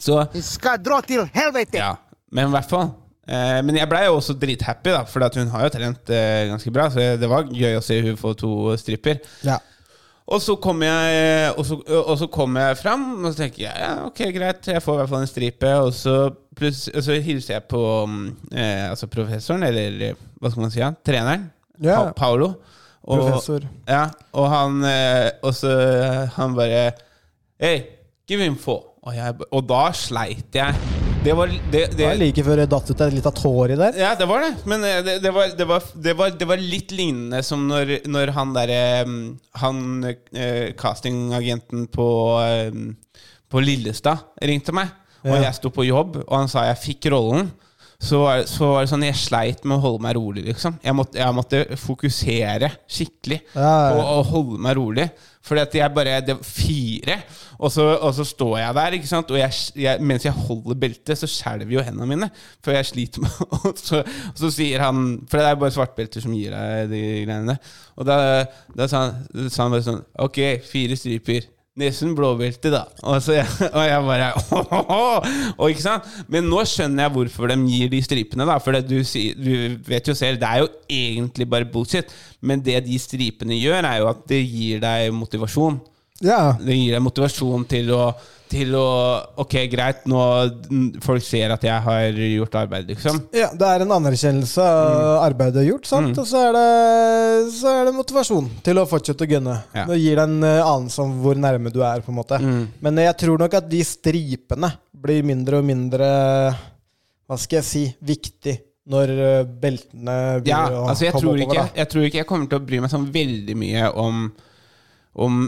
[SPEAKER 3] Så
[SPEAKER 6] skal dra til helvete!
[SPEAKER 3] ja, men i hvert fall. Eh, men jeg blei jo også drithappy, da, for hun har jo trent eh, ganske bra. Så det var gøy å se hun få to stripper.
[SPEAKER 4] Ja.
[SPEAKER 3] Og så kom jeg, og så, og så kom jeg fram, og så tenker jeg ja, ok, greit, jeg får i hvert fall en stripe. Og så, pluss- og så hilser jeg på mm, eh, altså professoren, eller eh, hva skal man si, ja, treneren.
[SPEAKER 4] Ja.
[SPEAKER 3] Pa Paolo. Og,
[SPEAKER 4] Professor.
[SPEAKER 3] Ja, og han, eh, og så eh, han bare Hei, give him four. Og, jeg, ba- og da sleit jeg. Det var det,
[SPEAKER 4] Det
[SPEAKER 3] det,
[SPEAKER 4] var like før det datt ut et lite tår i der.
[SPEAKER 3] ja, det var det. Men eh, det, det, var, det, var, det, var, det var litt lignende som når, når han derre Han eh, castingagenten på, eh, på Lillestad ringte meg. Og
[SPEAKER 4] Ja.
[SPEAKER 3] jeg sto på jobb, og han sa jeg fikk rollen. så var, så var det sånn Jeg sleit med å holde meg rolig, liksom. Jeg måtte, jeg måtte fokusere skikkelig
[SPEAKER 4] Ja, ja, ja.
[SPEAKER 3] på å holde meg rolig. Fordi at jeg bare Det var fire, og så, og så står jeg der, ikke sant. Og jeg, jeg, mens jeg holder beltet, så skjelver jo hendene mine. For jeg sliter med Og så, og så sier han For det er bare svartbelter som gir deg de greiene der. Og da, da sa, han, sa han bare sånn Ok, fire striper. Nesten blåbelte, da. Og, så jeg, og jeg bare Og ikke sant? Men nå skjønner jeg hvorfor de gir de stripene, da. For det du, sier- du vet jo selv, det er jo egentlig bare bullshit. Men det de stripene gjør, er jo at det gir deg motivasjon.
[SPEAKER 4] Ja.
[SPEAKER 3] Det gir deg motivasjon til å, til å Ok, greit, nå n- folk ser at jeg har gjort arbeid, liksom.
[SPEAKER 4] ja. Det er en anerkjennelse
[SPEAKER 3] Mm.
[SPEAKER 4] av arbeidet gjort, sant? og så er, det, så er det motivasjon til å fortsette å gunne.
[SPEAKER 3] Ja. Mm.
[SPEAKER 4] Det gir deg en eh, anelse om hvor nærme du er, på en måte. Men jeg tror nok at de stripene blir mindre og mindre Hva skal jeg si viktig når eh, beltene begynner
[SPEAKER 3] Ja,
[SPEAKER 4] å
[SPEAKER 3] altså jeg
[SPEAKER 4] komme
[SPEAKER 3] tror,
[SPEAKER 4] oppover.
[SPEAKER 3] ikke,
[SPEAKER 4] da.
[SPEAKER 3] jeg tror ikke jeg kommer til å bry meg sånn veldig mye om, om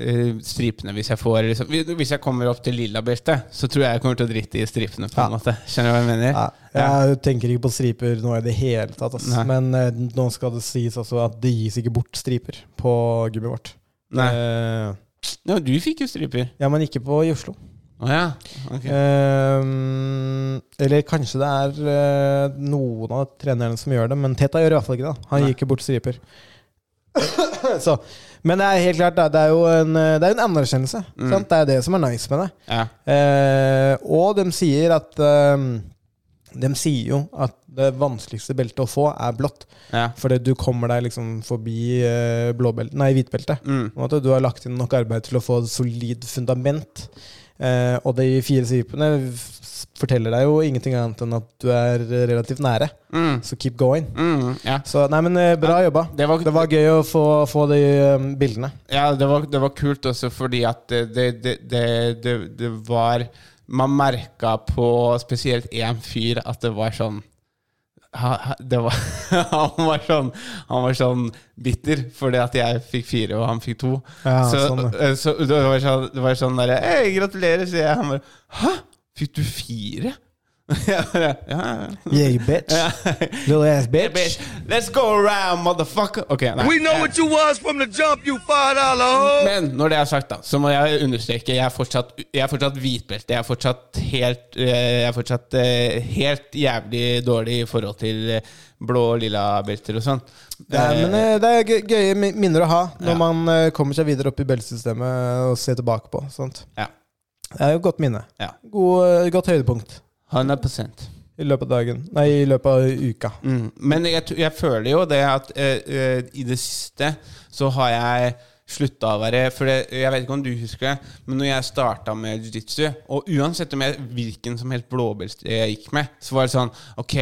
[SPEAKER 3] eh, stripene hvis jeg får liksom, Hvis jeg kommer opp til lilla belte, så tror jeg jeg kommer til å drite i stripene. på en måte Skjønner du hva jeg mener?
[SPEAKER 4] Ja, jeg tenker ikke på striper nå i det hele tatt. Ass.
[SPEAKER 3] Nei.
[SPEAKER 4] Men eh, nå skal det sies også at det gis ikke bort striper på gymmet vårt.
[SPEAKER 3] Nei.
[SPEAKER 4] Eh,
[SPEAKER 3] Ja, du fikk jo striper.
[SPEAKER 4] ja, men ikke på i Oslo.
[SPEAKER 3] Å ja. ok.
[SPEAKER 4] Eh, eller kanskje det er eh, noen av trenerne som gjør det, men Teta gjør i hvert fall ikke det. Han
[SPEAKER 3] Nei.
[SPEAKER 4] gir ikke bort striper. Så, men det er helt klart, det er- det er jo en, eh, det er en anerkjennelse.
[SPEAKER 3] Mm.
[SPEAKER 4] Sant? Det er det som er nice med det.
[SPEAKER 3] Ja.
[SPEAKER 4] Eh, og de sier at eh, De sier jo at det vanskeligste beltet å få er blått.
[SPEAKER 3] Ja.
[SPEAKER 4] Fordi du kommer deg liksom forbi eh, blåbelt- nei, hvitbeltet.
[SPEAKER 3] Mm.
[SPEAKER 4] På en måte, Du har lagt inn nok arbeid til å få et solid fundament. Eh, og de fire stripene f- forteller deg jo ingenting annet enn at du er relativt nære.
[SPEAKER 3] Mm.
[SPEAKER 4] Så keep going.
[SPEAKER 3] Mm. ja.
[SPEAKER 4] Så nei, men eh, bra jobba.
[SPEAKER 3] Det var,
[SPEAKER 4] Det var gøy å få, få de eh, bildene.
[SPEAKER 3] Ja, det var, det var kult også fordi at det, det, det- det, det, det var Man merka på spesielt én fyr at det var sånn ha- ha- det var, han, var sånn, han var sånn bitter fordi at jeg fikk fire, og han fikk to.
[SPEAKER 4] Ja,
[SPEAKER 3] så,
[SPEAKER 4] sånn,
[SPEAKER 3] eh, så det var sånn, det var sånn derre Hei, gratulerer, sier jeg. Han bare Hæ? Fikk du fire? Jeg bare, ja, ja, ja.
[SPEAKER 4] Yeah, bitch. Little ass
[SPEAKER 3] Hey, bitch, let's go around, motherfucker. Ok, nei.
[SPEAKER 8] you was from the jump, you five dollar hoe.
[SPEAKER 3] Men når det er sagt, da, så må jeg understreke jeg er fortsatt, jeg er fortsatt hvitbelte. Jeg er fortsatt, helt, eh, jeg er fortsatt eh, helt jævlig dårlig i forhold til eh, blå og lilla belter og sånn.
[SPEAKER 4] Ja, men eh, det er gøy- gøye mi- minner å ha når
[SPEAKER 3] Ja.
[SPEAKER 4] man eh, kommer seg videre opp i beltesystemet og ser tilbake på. Sant?
[SPEAKER 3] Ja.
[SPEAKER 4] Det er jo et godt minne.
[SPEAKER 3] Ja.
[SPEAKER 4] God, eh, godt høydepunkt
[SPEAKER 3] 100
[SPEAKER 4] i løpet av dagen. Nei, i løpet av uka.
[SPEAKER 3] Mm. Men jeg, t- jeg føler jo det at eh, eh, i det siste så har jeg slutta å være For det, jeg vet ikke om du husker det, men når jeg starta med jiu-jitsu, og uansett om jeg, hvilken som helst blåbelte jeg gikk med, så var det sånn Ok,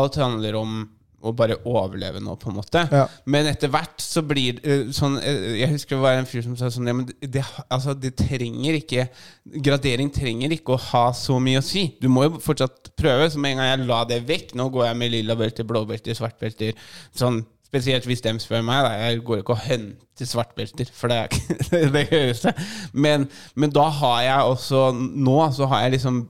[SPEAKER 3] alt handler om å bare overleve nå, på en måte.
[SPEAKER 4] Ja.
[SPEAKER 3] Men etter hvert så blir eh, sånn eh, Jeg husker det var en fyr som sa sånn ja, men det, det, altså, det trenger ikke Gradering trenger ikke å ha så mye å si. Du må jo fortsatt prøve. Så med en gang jeg la det vekk Nå går jeg med lilla belter, blåbelter, svartbelter. Sånn, spesielt hvis de spør meg. Da. Jeg går ikke og henter svartbelter, for det er ikke det høyeste. Men, men da har jeg også Nå så har jeg liksom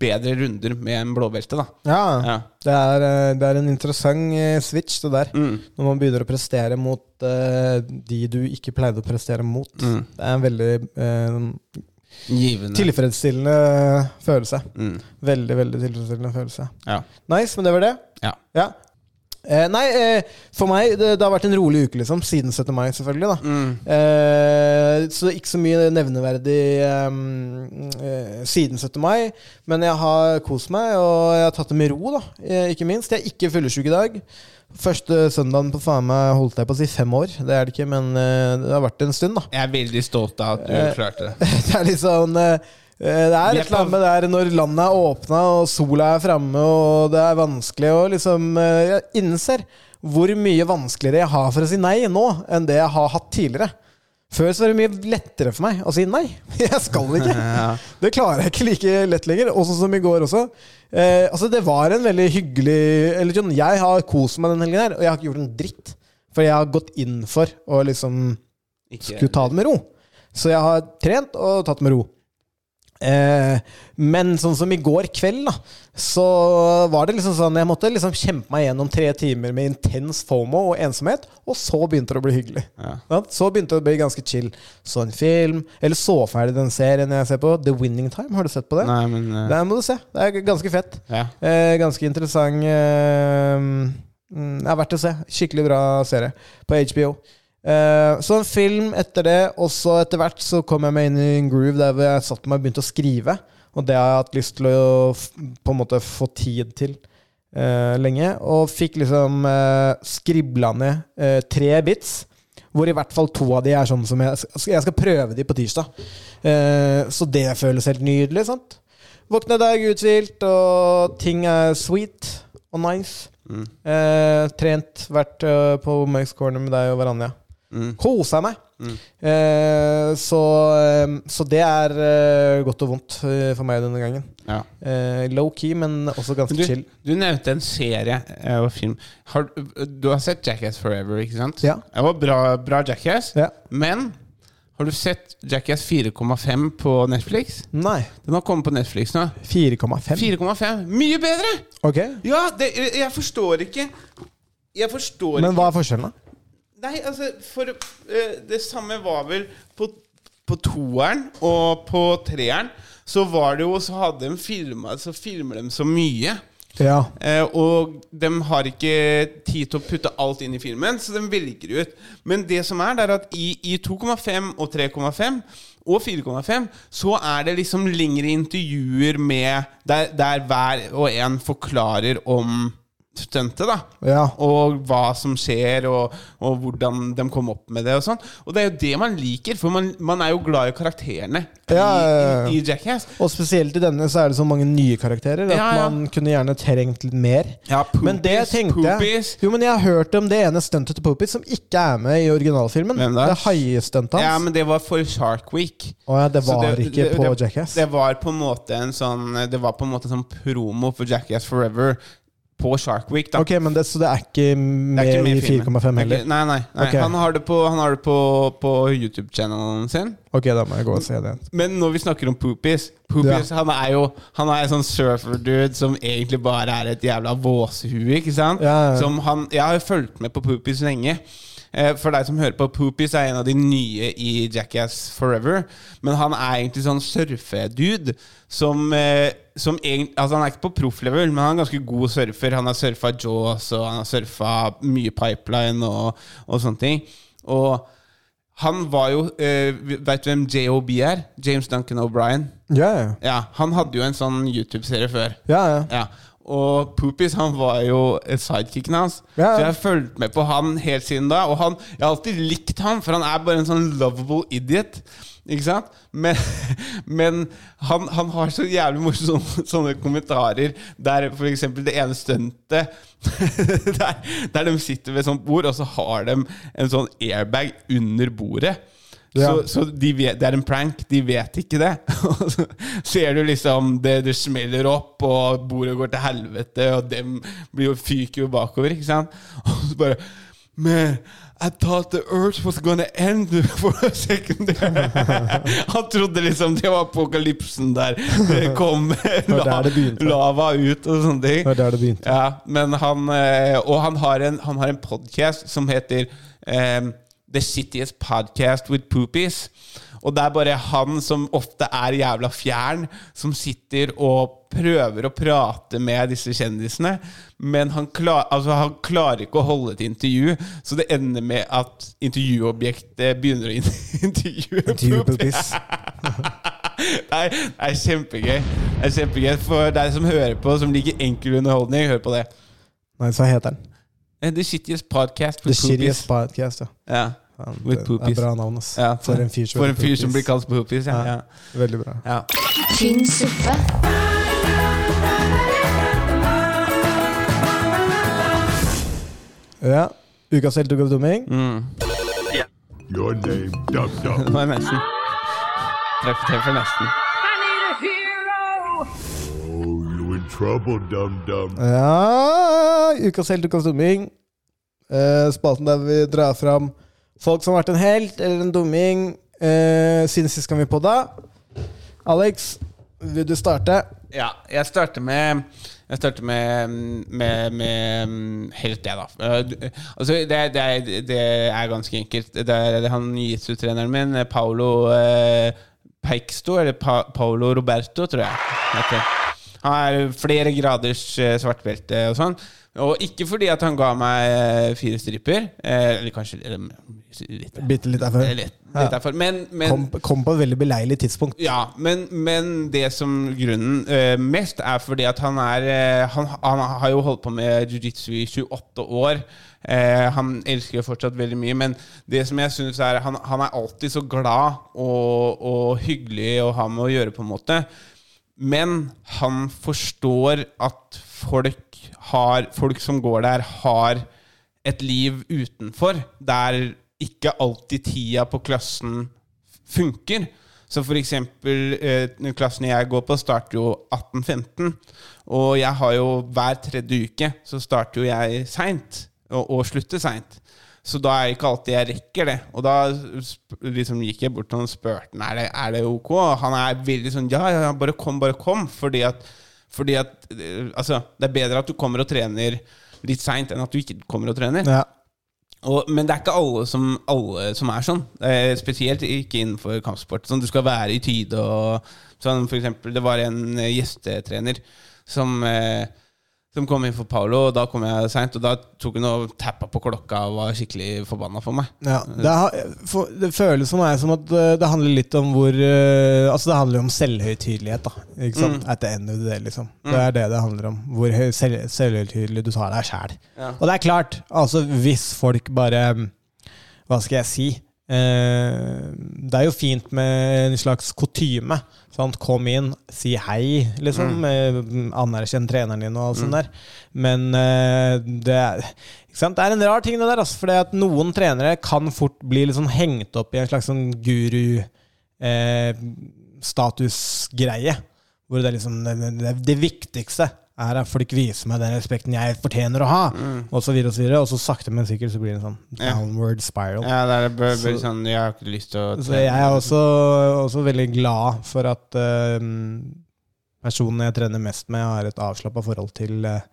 [SPEAKER 3] bedre runder med en blåbelte, da.
[SPEAKER 4] Ja,
[SPEAKER 3] Ja.
[SPEAKER 4] Det, er, eh, det er en interessant eh, switch, det der. Når man begynner å prestere mot eh, de du ikke pleide å prestere mot. Det er en veldig eh,
[SPEAKER 3] Givende.
[SPEAKER 4] tilfredsstillende følelse.
[SPEAKER 3] Mm.
[SPEAKER 4] Veldig, veldig tilfredsstillende følelse.
[SPEAKER 3] Ja.
[SPEAKER 4] Nice, men det var det.
[SPEAKER 3] Ja.
[SPEAKER 4] Ja. Eh, nei, eh, for meg det, det har vært en rolig uke, liksom. Siden 17. mai, selvfølgelig. da eh, Så ikke så mye nevneverdig eh, eh, siden 17. mai. Men jeg har kost meg, og jeg har tatt det med ro, da. Eh, ikke minst. Jeg er ikke fyllesyk i dag. Første søndagen på faen meg holdt jeg på å si fem år. Det er det ikke, men eh, det har vært en stund, da.
[SPEAKER 3] Jeg er veldig stolt av at du
[SPEAKER 4] Eh,
[SPEAKER 3] klarte det.
[SPEAKER 4] Det er litt sånn eh, eh, Det er
[SPEAKER 3] Vi er
[SPEAKER 4] et eller annet med det her når landet er åpna og sola er framme og det er vanskelig å liksom eh, Jeg innser hvor mye vanskeligere jeg har for å si nei nå enn det jeg har hatt tidligere. Før så var det mye lettere for meg å si nei. Jeg skal ikke. Det klarer jeg ikke like lett lenger. Og sånn som i går også. Eh, altså Det var en veldig hyggelig Eller sånn, Jeg har kost meg den helgen her, og jeg har ikke gjort en dritt. For jeg har gått inn for å liksom
[SPEAKER 3] Ikke-
[SPEAKER 4] skulle ta det med ro. Så jeg har trent og tatt det med ro. Eh, men sånn som i går kveld, da, så var det liksom sånn Jeg måtte liksom kjempe meg gjennom tre timer med intens fomo og ensomhet, og så begynte det å bli hyggelig. Ja, Så begynte det å bli ganske chill. Så en film, eller så ferdig den serien jeg ser på, The Winning Time. Har du sett på det?
[SPEAKER 3] Nei, men eh,
[SPEAKER 4] Den må du se. Det er g- ganske fett.
[SPEAKER 3] Ja.
[SPEAKER 4] Eh, ganske interessant. Eh, mm, det er verdt å se. Skikkelig bra serie på HBO. Eh, så en film etter det, og så etter hvert så kom jeg meg inn i en groove der hvor jeg satt meg og begynte å skrive. Og det har jeg hatt lyst til å f- på en måte få tid til eh, lenge. Og fikk liksom eh, skribla ned eh, tre bits. Hvor i hvert fall to av de er sånn som jeg, jeg skal prøve de på tirsdag. Eh, så det føles helt nydelig. sant? Våkne dag uthvilt, og ting er sweet og nice. Eh, trent, vært eh, på Mørks Corner med deg og Varanja. Mm. Kosa meg. Eh, så, eh, så det er eh, godt og vondt eh, for meg denne gangen.
[SPEAKER 3] ja.
[SPEAKER 4] Eh, low key, men også ganske
[SPEAKER 3] Du,
[SPEAKER 4] chill.
[SPEAKER 3] du nevnte en serie eh, og film. Har, du har sett Jackass Forever, ikke sant?
[SPEAKER 4] Ja.
[SPEAKER 3] Det var bra, bra Jackass.
[SPEAKER 4] Ja.
[SPEAKER 3] Men har du sett Jackass 4,5 på Netflix?
[SPEAKER 4] Nei.
[SPEAKER 3] Den har kommet på Netflix nå.
[SPEAKER 4] 4,5.
[SPEAKER 3] 4,5. Mye bedre!
[SPEAKER 4] Ok.
[SPEAKER 3] Ja, det, jeg forstår ikke Jeg forstår
[SPEAKER 4] Men hva er forskjellen, da?
[SPEAKER 3] Nei, altså for, eh, Det samme var vel på, på toeren og på treeren. Så var det jo Så hadde de filma Så filmer de så mye.
[SPEAKER 4] Ja.
[SPEAKER 3] Eh, og de har ikke tid til å putte alt inn i filmen, så de velger ut. Men det som er, det er at i, i 2,5 og 3,5 og 4,5 så er det liksom lengre intervjuer med der, der hver og en forklarer om stuntet, da.
[SPEAKER 4] Ja.
[SPEAKER 3] Og hva som skjer, og, og hvordan de kom opp med det. Og sånn Og det er jo det man liker, for man, man er jo glad i karakterene
[SPEAKER 4] Ja, ja, ja.
[SPEAKER 3] i, i, i Jackass.
[SPEAKER 4] Og spesielt i denne så er det så mange nye karakterer at
[SPEAKER 3] Ja, ja.
[SPEAKER 4] man kunne gjerne trengt litt mer.
[SPEAKER 3] Ja, Poopies,
[SPEAKER 4] men det tenkte jeg
[SPEAKER 3] Poopies.
[SPEAKER 4] Jo, men jeg har hørt om det ene stuntet til Poopies som ikke er med i originalfilmen.
[SPEAKER 3] Hvem da?
[SPEAKER 4] Det haiestuntet hans.
[SPEAKER 3] Ja, men det var for Shark Week.
[SPEAKER 4] Å ja, det
[SPEAKER 3] Så
[SPEAKER 4] var ikke på
[SPEAKER 3] det,
[SPEAKER 4] Jackass.
[SPEAKER 3] Det var på en måte en sånn Det var på en måte en sånn promo for Jackass Forever på Shark Week. da
[SPEAKER 4] ok, men det, Så det er ikke
[SPEAKER 3] Det
[SPEAKER 4] med,
[SPEAKER 3] er ikke med i
[SPEAKER 4] i
[SPEAKER 3] filmen. Det
[SPEAKER 4] 4,5
[SPEAKER 3] er
[SPEAKER 4] heller?
[SPEAKER 3] ikke- Nei, nei, nei.
[SPEAKER 4] Ok.
[SPEAKER 3] Han har det på, han har det på, på YouTube-channelen sin.
[SPEAKER 4] Ok, da må jeg gå og se det.
[SPEAKER 3] Men når vi snakker om Poopies Poopies, Han er jo Han er en sånn surfer-dude som egentlig bare er et jævla våsehue. Ikke sant?
[SPEAKER 4] Ja, ja.
[SPEAKER 3] Som han, jeg har jo fulgt med på Poopies lenge. Eh, For deg som hører på, Poopies er en av de nye i Jackass Forever. Men han er egentlig sånn surfedude som, eh, som egentlig, altså Han er ikke på profflevel, men han er ganske god surfer. Han har surfa Jaws, og han har surfa mye Pipeline og, og sånne ting. Og han var jo eh, Vet du hvem JOB er? James Duncan O'Brien.
[SPEAKER 4] Ja, ja.
[SPEAKER 3] Ja, han hadde jo en sånn YouTube-serie før.
[SPEAKER 4] ja, ja.
[SPEAKER 3] Ja. Og Poopies han var jo eh, sidekicken hans.
[SPEAKER 4] Ja.
[SPEAKER 3] Så jeg har fulgt med på han helt siden da. Og han, jeg har alltid likt han, for han er bare en sånn lovable idiot. Ikke sant? Men, men han, han har så jævlig morsomme sånne kommentarer der f.eks. det ene stuntet der, der de sitter ved et sånt bord, og så har de en sånn airbag under bordet.
[SPEAKER 4] Ja.
[SPEAKER 3] Så, så de vet, det er en prank, de vet ikke det. Og så ser du liksom det, det smeller opp, og bordet går til helvete, og dem blir jo, fyker jo bakover, ikke sant? Og så bare Man, I thought the earth was gonna end for a second. Han trodde liksom det var apokalypsen der. Det kom
[SPEAKER 4] var der det begynte.
[SPEAKER 3] lava ut og sånne ting.
[SPEAKER 4] Det var der det begynte.
[SPEAKER 3] Ja, men han eh, Og han har en, han har en podcast som heter eh, The City's Podcast with Poopies. Og det er bare han som ofte er jævla fjern, som sitter og prøver å prate med disse kjendisene. Men han, klar, altså han klarer ikke å holde et intervju, så det ender med at intervjuobjektet begynner å in- intervjue
[SPEAKER 4] Intervjue
[SPEAKER 3] Poopies.
[SPEAKER 4] Poopies.
[SPEAKER 3] Nei, det er kjempegøy. Det er kjempegøy For deg som hører på, som liker enkel underholdning, hør på det.
[SPEAKER 4] Nei, så heter den.
[SPEAKER 3] Eh, The Shittiest Podcast
[SPEAKER 4] The
[SPEAKER 3] with Poopies.
[SPEAKER 4] Shittiest Podcast, ja.
[SPEAKER 3] Ja.
[SPEAKER 4] Faen,
[SPEAKER 3] With
[SPEAKER 4] Det det
[SPEAKER 3] Poopies.
[SPEAKER 4] er bra navn, ass.
[SPEAKER 3] Ja,
[SPEAKER 4] For en fyr som
[SPEAKER 3] for
[SPEAKER 4] heter
[SPEAKER 3] en fyr som blir kalt
[SPEAKER 4] Poopies.
[SPEAKER 3] Poopies. Ja. Ja.
[SPEAKER 4] Ja. Veldig bra.
[SPEAKER 3] Ja.
[SPEAKER 1] Tynn suppe.
[SPEAKER 4] Ja. Ukas helt og dumming.
[SPEAKER 9] Your name, Dub Dub.
[SPEAKER 3] Det var nesten. Treffer, treffer nesten.
[SPEAKER 9] Oh, you in trouble, Dum Dum.
[SPEAKER 4] Ja Ukas helt, ukas dumming. Eh, spalten der vi drar fram folk som har vært en helt eller en dumming eh, siden sist gang vi podda. Alex, Vil du starte?
[SPEAKER 3] Ja, jeg starter med Jeg starter med, med, med mm, Helt det, da. Eh, du- Altså, det, det, er, det er ganske enkelt. Det er han jiu-jitsu-treneren min, eh, Paolo eh, Paixto, eller pa Paolo Roberto, tror jeg. heter. Han er flere graders eh, svartbelte og sånn. Og ikke fordi at han ga meg eh, fire striper, eh, eller kanskje eller, mm, litt,
[SPEAKER 4] Bitte litt derfor.
[SPEAKER 3] litt, litt derfor. Men, men
[SPEAKER 4] Kom, kom på et veldig beleilig tidspunkt.
[SPEAKER 3] ja, men, men det som grunnen eh, mest er fordi at han er eh, han, han har jo holdt på med jiu-jitsu i 28 år. Eh, han elsker det fortsatt veldig mye, men det som jeg synes er han, han er alltid så glad og, og hyggelig å ha med å gjøre, på en måte. Men han forstår at folk, har, folk som går der, har et liv utenfor der ikke alltid tida på klassen funker. Så for eksempel eh, klassen jeg går på, starter jo 18.15. Og jeg har jo hver tredje uke så starter jo jeg seint, og, og slutter seint. Så da er det ikke alltid jeg rekker det. Og da sp- liksom gikk jeg bort til han og spurte om det er det ok. Og han er veldig sånn ja, ja, ja, bare kom, bare kom. Fordi at, fordi at eh, altså, det er bedre at du kommer og trener litt seint enn at du ikke kommer og trener.
[SPEAKER 4] Ja.
[SPEAKER 3] Og, men det er ikke alle som, alle som er sånn. Eh, spesielt ikke innenfor kampsport. Sånn, du skal være i tide og sånn, For eksempel, det var en eh, gjestetrener som, eh, som kom inn for Paolo, og da kom jeg seint. Og da tok hun og tappa på klokka og var skikkelig forbanna for meg.
[SPEAKER 4] Ja, det, har, for, det føles for meg som at eh, det handler litt om hvor eh, Altså, det handler jo om selvhøytidelighet, da. Ikke sant? At the end of the day, liksom. Det er det det handler om. Hvor høy, selv, selvhøytidelig du tar deg sjæl. Og det er klart, altså, hvis folk bare mm, Hva skal jeg si? Eh, det er jo fint med en slags kutyme. Sant? Kom inn, si hei, liksom. eh, Anerkjenn treneren din og alt sånt der. Men eh, det er ikke sant? Det er en rar ting, det der. Altså, fordi at noen trenere kan fort bli litt sånn hengt opp i en slags sånn guru-statusgreie. hvor det er liksom det, det, det viktigste er at folk viser meg den respekten jeg fortjener å ha. Og så videre og så videre. Og så sakte, men sikkert så blir det en sånn downward spiral.
[SPEAKER 3] Ja, det er bare, bare sånn, Jeg har ikke lyst til å
[SPEAKER 4] Så jeg er også, også veldig glad for at eh, personen jeg trener mest med, har et avslappa forhold til eh,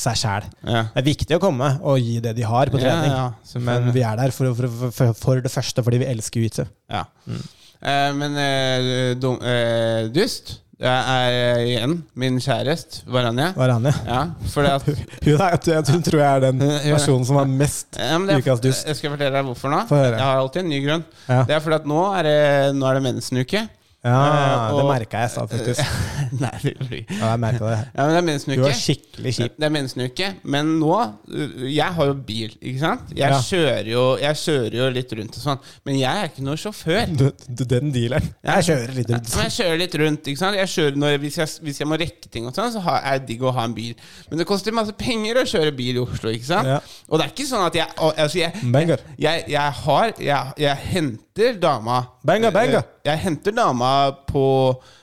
[SPEAKER 4] seg sjæl.
[SPEAKER 3] Ja.
[SPEAKER 4] Det er viktig å komme og gi det de har på
[SPEAKER 3] Ja,
[SPEAKER 4] trening,
[SPEAKER 3] ja, selvfølgelig.
[SPEAKER 4] men vi er der for, for, for, for det første fordi vi elsker jiu-jitsu.
[SPEAKER 3] Ja. Eh, men eh, dum, eh, dust Det er eh, igjen min kjæreste, Varanja.
[SPEAKER 4] Hva er han, ja?
[SPEAKER 3] Ja, for det at
[SPEAKER 4] Hun, er, jeg tror- tror jeg er den
[SPEAKER 3] Ja.
[SPEAKER 4] personen som er mest
[SPEAKER 3] Ja, men det,
[SPEAKER 4] ukas dust.
[SPEAKER 3] Jeg skal fortelle deg hvorfor nå.
[SPEAKER 4] Få høre.
[SPEAKER 3] Jeg har alltid en ny grunn.
[SPEAKER 4] Ja.
[SPEAKER 3] Det er fordi at nå er det, nå er det mensenuke.
[SPEAKER 4] Ja,
[SPEAKER 3] Eh,
[SPEAKER 4] det
[SPEAKER 3] og-
[SPEAKER 4] merka jeg i stad, faktisk.
[SPEAKER 3] Nei, det blir
[SPEAKER 4] Ja, jeg merket det.
[SPEAKER 3] Ja, men det er
[SPEAKER 4] Du
[SPEAKER 3] mensenuke.
[SPEAKER 4] var skikkelig kjip.
[SPEAKER 3] Det er mensenuke. Men nå uh, Jeg har jo bil, ikke sant? Jeg,
[SPEAKER 4] Ja.
[SPEAKER 3] kjører, jo, jeg kjører jo litt rundt og sånn. Men jeg er ikke noen sjåfør.
[SPEAKER 4] Du, du, den dealeren. Jeg kjører litt rundt.
[SPEAKER 3] Men jeg kjører litt rundt. ikke sant? Jeg kjører når, hvis, jeg, hvis jeg må rekke ting, og sånn, så har, er det digg å ha en bil. Men det koster masse penger å kjøre bil i Oslo. ikke sant?
[SPEAKER 4] Ja.
[SPEAKER 3] Og det er ikke sånn at jeg al- altså jeg,
[SPEAKER 4] Banger.
[SPEAKER 3] jeg, jeg har jeg, jeg henter dama
[SPEAKER 4] Banger, banger.
[SPEAKER 3] Eh, Jeg henter dama på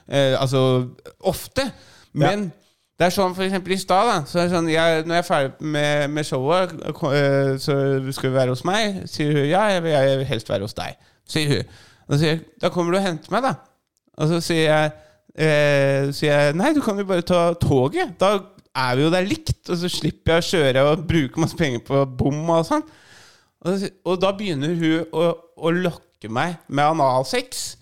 [SPEAKER 3] eh, Altså ofte. Men det er sånn for eksempel i stad, da. Så er det sånn, jeg, når jeg er ferdig med, med showet, ko- eh, så skal du være hos meg. Sier hun ja, jeg vil, jeg vil helst være hos deg. Sier hun. Og så sier jeg, da kommer du og henter meg, da. Og så sier jeg, eh, sier jeg nei, du kan jo bare ta toget. Da er vi jo der likt, og så slipper jeg å kjøre og bruke masse penger på bom og sånn. Og, så- og da begynner hun å, å lokke meg med analsex.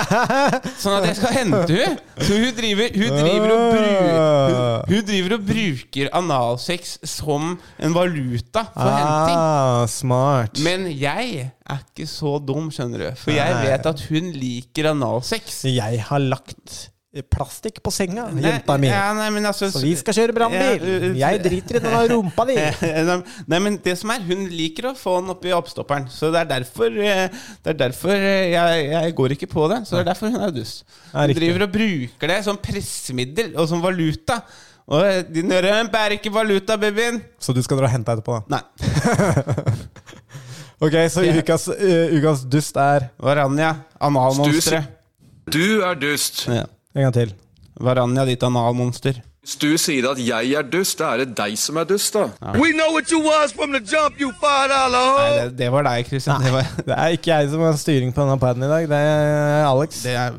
[SPEAKER 3] sånn at jeg skal hente hun Så hun driver, hun driver, og, bru, hun, hun driver og bruker analsex som en valuta for henting.
[SPEAKER 4] Ah, smart.
[SPEAKER 3] Men jeg er ikke så dum, skjønner du. For jeg
[SPEAKER 4] Nei.
[SPEAKER 3] vet at hun liker analsex.
[SPEAKER 4] Jeg har lagt plastikk på senga, jenta mi.
[SPEAKER 3] Ja, nei, men altså,
[SPEAKER 4] Så vi skal kjøre brannbil.
[SPEAKER 3] Ja,
[SPEAKER 4] Jeg driter i denne rumpa di.
[SPEAKER 3] Eh, Nei, Nei, men det som er Hun liker å få den oppi oppstopperen. Så det er derfor, eh, det er derfor eh, jeg, jeg går ikke på det. Så det er derfor hun er dust.
[SPEAKER 4] Ja,
[SPEAKER 3] Hun
[SPEAKER 4] riktig.
[SPEAKER 3] driver og bruker det som pressemiddel og som valuta. Og eh, din rømp er ikke valuta, babyen!
[SPEAKER 4] Så du skal dra og hente deg etterpå, da.
[SPEAKER 3] Nei.
[SPEAKER 4] Ok, så ukas, eh, ukas dust er
[SPEAKER 3] Varanja, analmonsteret.
[SPEAKER 8] Du er dust.
[SPEAKER 3] Ja.
[SPEAKER 4] En gang til.
[SPEAKER 3] Varanja, ditt analmonster.
[SPEAKER 8] Hvis du sier at jeg er dust, da er det deg som er dust, da. We know what you was from the jump, you five dollar
[SPEAKER 3] Nei,
[SPEAKER 8] hoe!
[SPEAKER 3] det, det var deg, Christian. Det, var,
[SPEAKER 4] Det er ikke jeg som har styring på denne paden i dag, det er Alex.
[SPEAKER 3] det er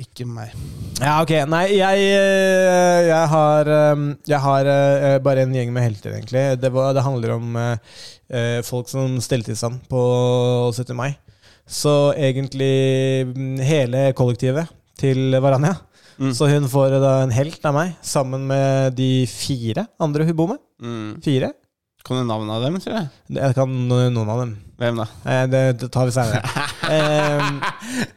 [SPEAKER 3] ikke meg.
[SPEAKER 4] Ja, ok. Nei, jeg, eh, jeg har, eh, jeg har eh, bare en gjeng med helter, egentlig. Det, var, det handler om eh, eh, folk som stelte i stand på 17. mai. Så egentlig mm, hele kollektivet til Varanja. Så hun får da en helt av meg, sammen med de fire andre hun bor med. Fire?
[SPEAKER 3] Kan du navnet av dem, tror jeg?
[SPEAKER 4] Jeg kan noen av dem.
[SPEAKER 3] Hvem da?
[SPEAKER 4] Eh, Det, det tar vi senere. Ehm,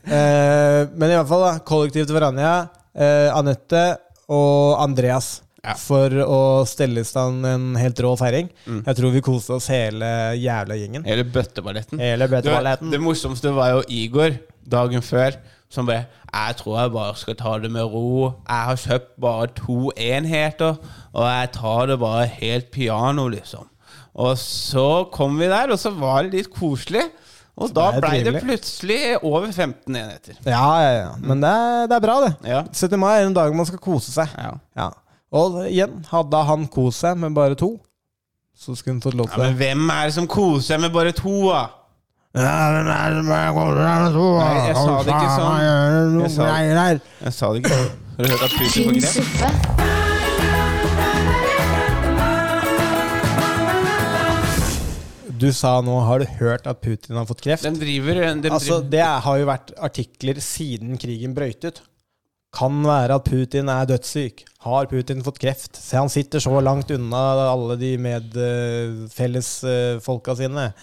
[SPEAKER 4] eh, men i hvert fall, da. Kollektiv til Varanja, eh, Anette og Andreas.
[SPEAKER 3] Ja.
[SPEAKER 4] For å stelle i stand en helt rå feiring. Jeg tror vi koste oss hele jævla gjengen.
[SPEAKER 3] Hele bøtteballetten. Det,
[SPEAKER 4] Hele
[SPEAKER 3] var-
[SPEAKER 4] bøtteballetten.
[SPEAKER 3] det morsomste var jo Igor dagen før, som bare 'Jeg tror jeg bare skal ta det med ro. Jeg har kjøpt bare to enheter, og jeg tar det bare helt piano, liksom.' Og så kom vi der, og så var det litt koselig. Og da
[SPEAKER 4] Det er
[SPEAKER 3] blei det
[SPEAKER 4] trivelig.
[SPEAKER 3] plutselig over 15 enheter.
[SPEAKER 4] Ja, ja, ja. Men det er, det er bra, det.
[SPEAKER 3] Ja.
[SPEAKER 4] 17. mai er en dag man skal kose seg.
[SPEAKER 3] Ja.
[SPEAKER 4] Og igjen, hadde han kost seg med bare to, så skulle han fått lov
[SPEAKER 3] Ja,
[SPEAKER 4] til det.
[SPEAKER 3] men hvem er det som koser seg med bare to, da?
[SPEAKER 4] Nei,
[SPEAKER 3] jeg sa det ikke sånn. Jeg sa- Jeg sa det ikke. Har du hørt at Putin får grep?
[SPEAKER 1] Tynnsuppe.
[SPEAKER 4] Du sa nå 'har du hørt at Putin har fått kreft'?
[SPEAKER 3] De driver, de
[SPEAKER 4] Altså,
[SPEAKER 3] driver.
[SPEAKER 4] det er- har jo vært artikler siden krigen brøyt ut. Kan være at Putin er dødssyk. Har Putin fått kreft? Se, han sitter så langt unna alle de eh, medfellesfolka sine.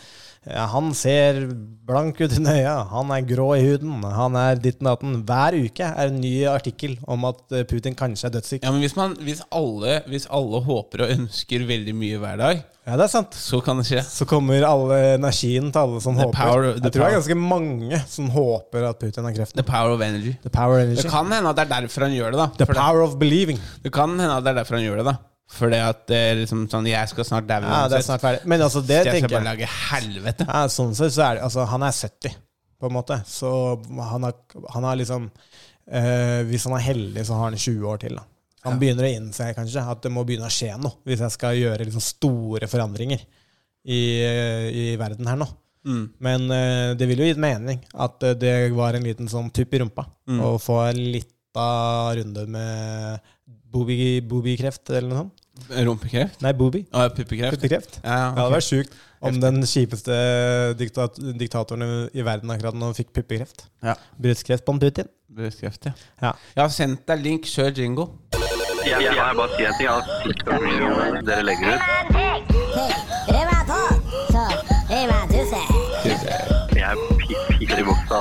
[SPEAKER 4] Ja, Han ser blank ut under øya, han er grå i huden, han er ditten datten. Hver uke er en ny artikkel om at eh, Putin kanskje er dødssyk.
[SPEAKER 3] Ja, men hvis, man, hvis, alle, hvis alle håper og ønsker veldig mye hver dag,
[SPEAKER 4] Ja, det er sant.
[SPEAKER 3] så kan det skje.
[SPEAKER 4] Så kommer alle energien til alle som
[SPEAKER 3] The
[SPEAKER 4] håper.
[SPEAKER 3] power- the
[SPEAKER 4] Jeg tror det er
[SPEAKER 3] power.
[SPEAKER 4] ganske mange som håper at Putin har kreft.
[SPEAKER 3] The power of energy.
[SPEAKER 4] The power energy.
[SPEAKER 3] Det kan hende at det er derfor han gjør det, da.
[SPEAKER 4] The
[SPEAKER 3] For
[SPEAKER 4] power of believing.
[SPEAKER 3] det, det kan hende at det er derfor han gjør det, da. Fordi at det er liksom sånn Jeg skal snart daue
[SPEAKER 4] Ja, det er snart ferdig. Men altså, det
[SPEAKER 3] jeg skal
[SPEAKER 4] tenker
[SPEAKER 3] bare lage
[SPEAKER 4] jeg
[SPEAKER 3] helvete.
[SPEAKER 4] ja, Sånn sett så er det Altså, han er 70, på en måte. Så han har, han har liksom eh, Hvis han er heldig, så har han 20 år til, da. Han begynner å innse kanskje at det må begynne å skje noe, hvis jeg skal gjøre liksom store forandringer i, eh, i verden her nå. Men eh, det ville jo gitt mening at eh, det var en liten sånn tupp i rumpa å få en lita runde med bobi- bobikreft, eller noe sånt.
[SPEAKER 3] Rumpekreft?
[SPEAKER 4] Nei, bobi.
[SPEAKER 3] Å, puppekreft?
[SPEAKER 4] Puttekreft.
[SPEAKER 3] Ja,
[SPEAKER 4] Det
[SPEAKER 3] ok.
[SPEAKER 4] hadde vært sjukt om den kjipeste diktat diktatoren i verden akkurat nå fikk puppekreft.
[SPEAKER 3] Ja.
[SPEAKER 4] Brystkreft på en Putin.
[SPEAKER 3] Brystkreft, ja.
[SPEAKER 4] Ja.
[SPEAKER 3] Jeg har sendt deg link, kjør jingo.
[SPEAKER 10] Jeg, jeg, jeg bare si en ting. Jeg har TikTok-videoene dere legger ut. Jeg pi- piker i buksa.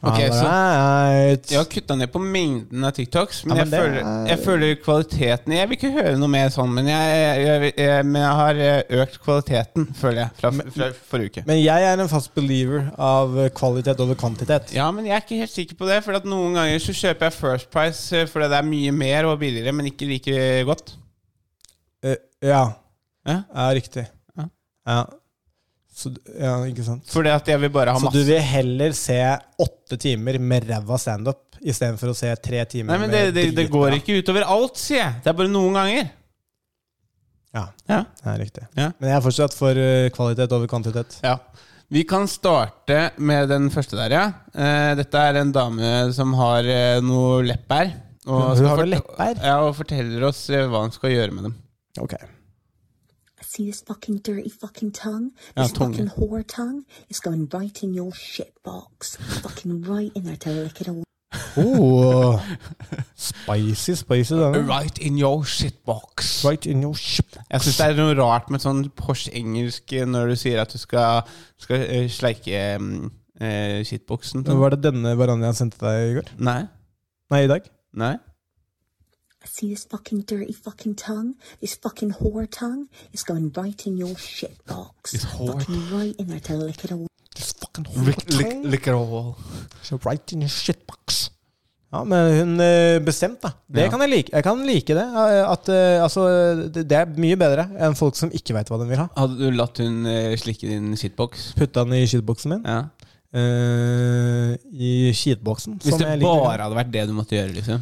[SPEAKER 3] Ok, så
[SPEAKER 4] Alright.
[SPEAKER 3] jeg har kutta ned på mengden av TikToks, men,
[SPEAKER 4] Ja,
[SPEAKER 3] jeg,
[SPEAKER 4] men det
[SPEAKER 3] føler, jeg føler kvaliteten Jeg vil ikke høre noe mer sånn, men jeg, jeg, jeg, men jeg har eh, økt kvaliteten, føler jeg, fra, fra forrige uke.
[SPEAKER 4] Men jeg er en fast believer av kvalitet over kvantitet.
[SPEAKER 3] Ja, men jeg er ikke helt sikker på det. For at noen ganger så kjøper jeg First Price eh, fordi det er mye mer og billigere, men ikke like godt.
[SPEAKER 4] Eh, ja.
[SPEAKER 3] Ja.
[SPEAKER 4] ja, riktig.
[SPEAKER 3] Ja.
[SPEAKER 4] Ja. Så, d- ja, ikke sant.
[SPEAKER 3] Fordi at jeg vil bare ha
[SPEAKER 4] Så du
[SPEAKER 3] masse.
[SPEAKER 4] vil heller se åtte timer med ræva standup istedenfor å se tre timer
[SPEAKER 3] Nei, men det,
[SPEAKER 4] med
[SPEAKER 3] det, det
[SPEAKER 4] dritbra?
[SPEAKER 3] går ikke utover alt, sier jeg. Det er bare noen ganger.
[SPEAKER 4] Ja,
[SPEAKER 3] Ja.
[SPEAKER 4] det er riktig.
[SPEAKER 3] Ja.
[SPEAKER 4] Men jeg er fortsatt for eh, kvalitet over kvantitet.
[SPEAKER 3] ja. Vi kan starte med den første der, ja. Eh, dette er en dame som har eh, noe lepper. Og
[SPEAKER 4] Hun
[SPEAKER 3] skal
[SPEAKER 4] har noe
[SPEAKER 3] fort-
[SPEAKER 4] lepper?
[SPEAKER 3] Ja, og forteller oss eh, hva hun skal gjøre med dem.
[SPEAKER 4] Ok.
[SPEAKER 11] I see this fucking dirty fucking tongue.
[SPEAKER 3] Ja,
[SPEAKER 11] This
[SPEAKER 3] tongue.
[SPEAKER 11] fucking whore tongue is going right in your shit box. fucking right in there to lick it all.
[SPEAKER 4] Oh, spicy, spicy denne.
[SPEAKER 3] Right in your shitbox.
[SPEAKER 4] Right in your ship.
[SPEAKER 3] Jeg syns det er noe rart med sånn Porsche-engelsk når du sier at du skal, skal eh, sleike eh, shitboxen.
[SPEAKER 4] Var det denne verandaen jeg sendte deg i går?
[SPEAKER 3] Nei?
[SPEAKER 4] Nei, i dag.
[SPEAKER 3] Nei?
[SPEAKER 11] I see this fucking dirty fucking tongue. This fucking whore tongue is going right in your shit box.
[SPEAKER 3] This whore-
[SPEAKER 11] Fucking right in there to lick it all.
[SPEAKER 4] This fucking tongue. So right in your shitbox. Ja, men hun eh, bestemt, da. Det
[SPEAKER 3] Ja.
[SPEAKER 4] kan jeg like. Jeg kan like det. eh, At, eh, altså, det, det er mye bedre enn folk som ikke veit hva de vil ha.
[SPEAKER 3] Hadde du latt hun eh, slikke din shitbox?
[SPEAKER 4] Putta den i shitboxen min.
[SPEAKER 3] Ja.
[SPEAKER 4] eh, I skitboksen.
[SPEAKER 3] Hvis
[SPEAKER 4] som
[SPEAKER 3] det
[SPEAKER 4] jeg liker.
[SPEAKER 3] bare hadde vært det du måtte gjøre, liksom.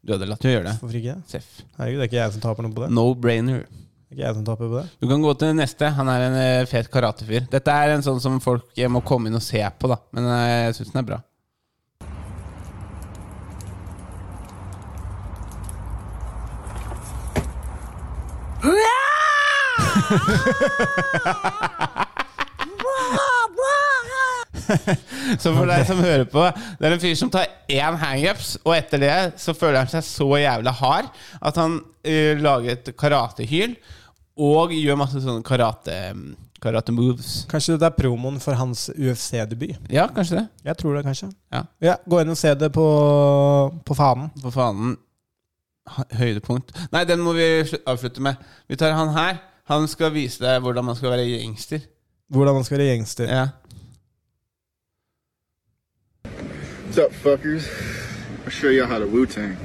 [SPEAKER 3] Du hadde latt meg gjøre det.
[SPEAKER 4] Hvorfor ikke? det?
[SPEAKER 3] Seff.
[SPEAKER 4] Herregud, det er ikke jeg som taper noe på det.
[SPEAKER 3] No brainer.
[SPEAKER 4] Det er ikke jeg som taper på det.
[SPEAKER 3] Du kan gå til neste. Han er en eh, fet karatefyr. Dette er en sånn som folk eh, må komme inn og se på, da. Men eh, jeg syns den er bra. Så for deg som hører på, det er en fyr som tar én hangups, og etter det så føler han seg så jævla hard at han eh, lager et karatehyl og gjør masse sånne karate, karate moves.
[SPEAKER 4] Kanskje det er promoen for hans UFC-debut.
[SPEAKER 3] Ja, kanskje det.
[SPEAKER 4] Jeg tror det, kanskje.
[SPEAKER 3] Ja.
[SPEAKER 4] Ja, Gå inn og se det på, på fanen.
[SPEAKER 3] For fanen. Ha- Høydepunkt. Nei, den må vi slu- avslutte med. Vi tar han her. Han skal vise deg hvordan man skal være gangster.
[SPEAKER 4] Hvordan man skal være gjengster.
[SPEAKER 3] Ja.
[SPEAKER 12] What's up, fuckers? I'll show y'all how to Wu Tang.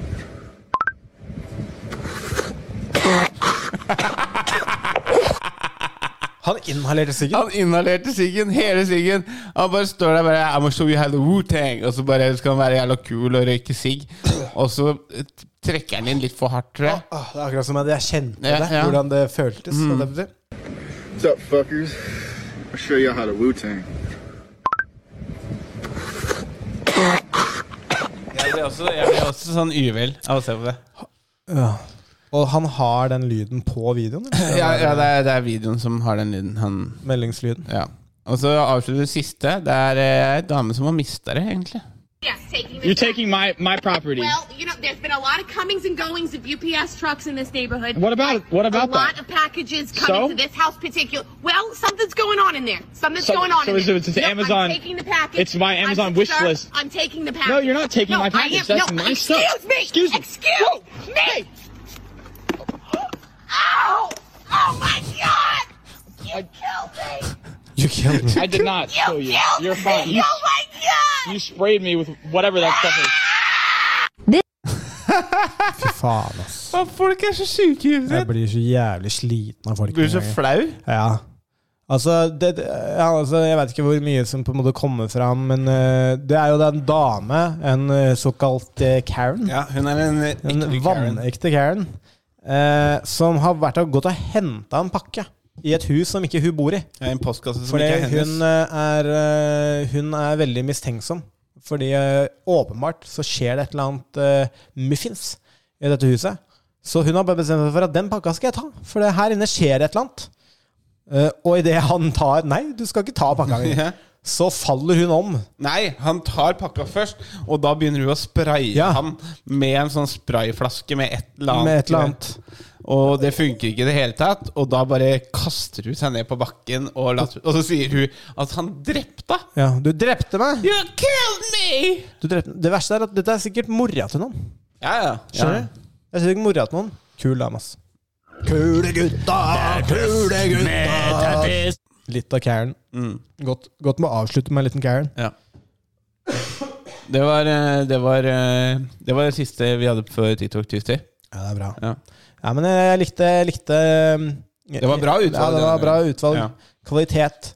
[SPEAKER 4] Han inhalerte sikkert.
[SPEAKER 3] Han inhalerte siggen, hele siggen. Han bare står der bare I'm gonna show you how to Wu-Tang. Og så bare skal han være jævla kul og røyke sigg. Og så eh, trekker han inn litt for hardt, tror jeg.
[SPEAKER 4] Åh, det er akkurat som at jeg kjente
[SPEAKER 3] Ja,
[SPEAKER 4] det.
[SPEAKER 3] ja.
[SPEAKER 4] Hvordan det føltes.
[SPEAKER 3] Mm.
[SPEAKER 4] hva det betyr.
[SPEAKER 12] What's up, fuckers? I'll show y'all how to Wu Tang.
[SPEAKER 3] Jeg blir også, jeg blir også sånn uvel av å se på det.
[SPEAKER 4] Ja. Og han har den lyden på videoen? eller?
[SPEAKER 3] Ja, ja det, er, det er videoen som har den lyden. Han,
[SPEAKER 4] Meldingslyden.
[SPEAKER 3] ja. Og så avslutter det siste. Det er eh, ei dame som har mista det, egentlig.
[SPEAKER 13] Yes, taking
[SPEAKER 14] You're taking my my property.
[SPEAKER 13] Well, you know, there's been a lot of comings and goings of UPS trucks in this neighborhood.
[SPEAKER 14] What about it? What about
[SPEAKER 13] a
[SPEAKER 14] that?
[SPEAKER 13] lot of packages coming
[SPEAKER 14] So?
[SPEAKER 13] to this house particular. Well, something's going on in there. Something's
[SPEAKER 14] So-
[SPEAKER 13] going on
[SPEAKER 14] so
[SPEAKER 13] in
[SPEAKER 14] is
[SPEAKER 13] there.
[SPEAKER 14] it- it's
[SPEAKER 13] no,
[SPEAKER 14] Amazon-
[SPEAKER 13] I'm taking the package.
[SPEAKER 14] it's my
[SPEAKER 13] I'm-
[SPEAKER 14] Amazon wish
[SPEAKER 13] sir,
[SPEAKER 14] list.
[SPEAKER 13] I'm taking the package.
[SPEAKER 14] No, you're not taking
[SPEAKER 13] No,
[SPEAKER 14] my
[SPEAKER 13] I
[SPEAKER 14] package.
[SPEAKER 13] am-
[SPEAKER 14] That's
[SPEAKER 13] no,
[SPEAKER 14] my
[SPEAKER 13] excuse
[SPEAKER 14] stuff.
[SPEAKER 13] me.
[SPEAKER 14] Excuse me.
[SPEAKER 13] Excuse me. Ow! Oh my God! You killed me.
[SPEAKER 4] You killed me.
[SPEAKER 14] I did not kill you. You're fine. You,
[SPEAKER 13] oh my God!
[SPEAKER 14] you sprayed me with whatever that stuff is.
[SPEAKER 4] Fy faen, ass.
[SPEAKER 3] folk er så syke i
[SPEAKER 4] Jeg blir så jævlig sliten av folk.
[SPEAKER 3] Blir så
[SPEAKER 4] noen ganger.
[SPEAKER 3] flau.
[SPEAKER 4] Ja. Altså, det, det- ja, altså, jeg vet ikke hvor mye som på en måte kommer fram, men eh, det er jo den dame, en eh, såkalt eh, Karen,
[SPEAKER 3] Ja, hun er en eh,
[SPEAKER 4] en
[SPEAKER 3] ekte Karen.
[SPEAKER 4] vannekte Karen, eh, som har vært og gått og henta en pakke i et hus som ikke hun bor i.
[SPEAKER 3] Ja, En postkasse som
[SPEAKER 4] Fordi
[SPEAKER 3] ikke er hennes.
[SPEAKER 4] hun eh, er, eh, hun er veldig mistenksom. Fordi eh, åpenbart så skjer det et eller annet eh, muffins i dette huset. Så hun har bare bestemt seg for at den pakka skal jeg ta, for det her inne skjer et eller annet. Eh, og idet han tar Nei, du skal ikke ta pakka mi.
[SPEAKER 3] Ja.
[SPEAKER 4] Så faller hun om.
[SPEAKER 3] Nei, han tar pakka først, og da begynner hun å spraye
[SPEAKER 4] Ja.
[SPEAKER 3] han med en sånn sprayflaske med et eller annet.
[SPEAKER 4] Med et eller annet.
[SPEAKER 3] Og det funker ikke i det hele tatt, og da bare kaster hun seg ned på bakken, og, later, og så sier hun at han drepte henne.
[SPEAKER 4] Ja, du drepte meg!
[SPEAKER 3] You killed me!
[SPEAKER 4] Du drepte. Det verste er at dette er sikkert mora til noen.
[SPEAKER 3] Ja, ja.
[SPEAKER 4] Skjønner du? Det er sikkert mora til noen. Kul dame, ass.
[SPEAKER 3] Kule gutta, kule gutta.
[SPEAKER 4] Litt av Karen.
[SPEAKER 3] Mm.
[SPEAKER 4] Godt, godt med å avslutte med en liten Karen.
[SPEAKER 3] Ja. Det var, eh, det var eh, Det var det siste vi hadde før TikTok Tuesday.
[SPEAKER 4] Ja, det er bra.
[SPEAKER 3] Ja.
[SPEAKER 4] Ja, men eh, jeg likte, jeg likte um,
[SPEAKER 3] Det var bra utvalg
[SPEAKER 4] Ja, det
[SPEAKER 3] denne
[SPEAKER 4] var bra
[SPEAKER 3] gangen.
[SPEAKER 4] utvalg.
[SPEAKER 3] Ja.
[SPEAKER 4] Kvalitet.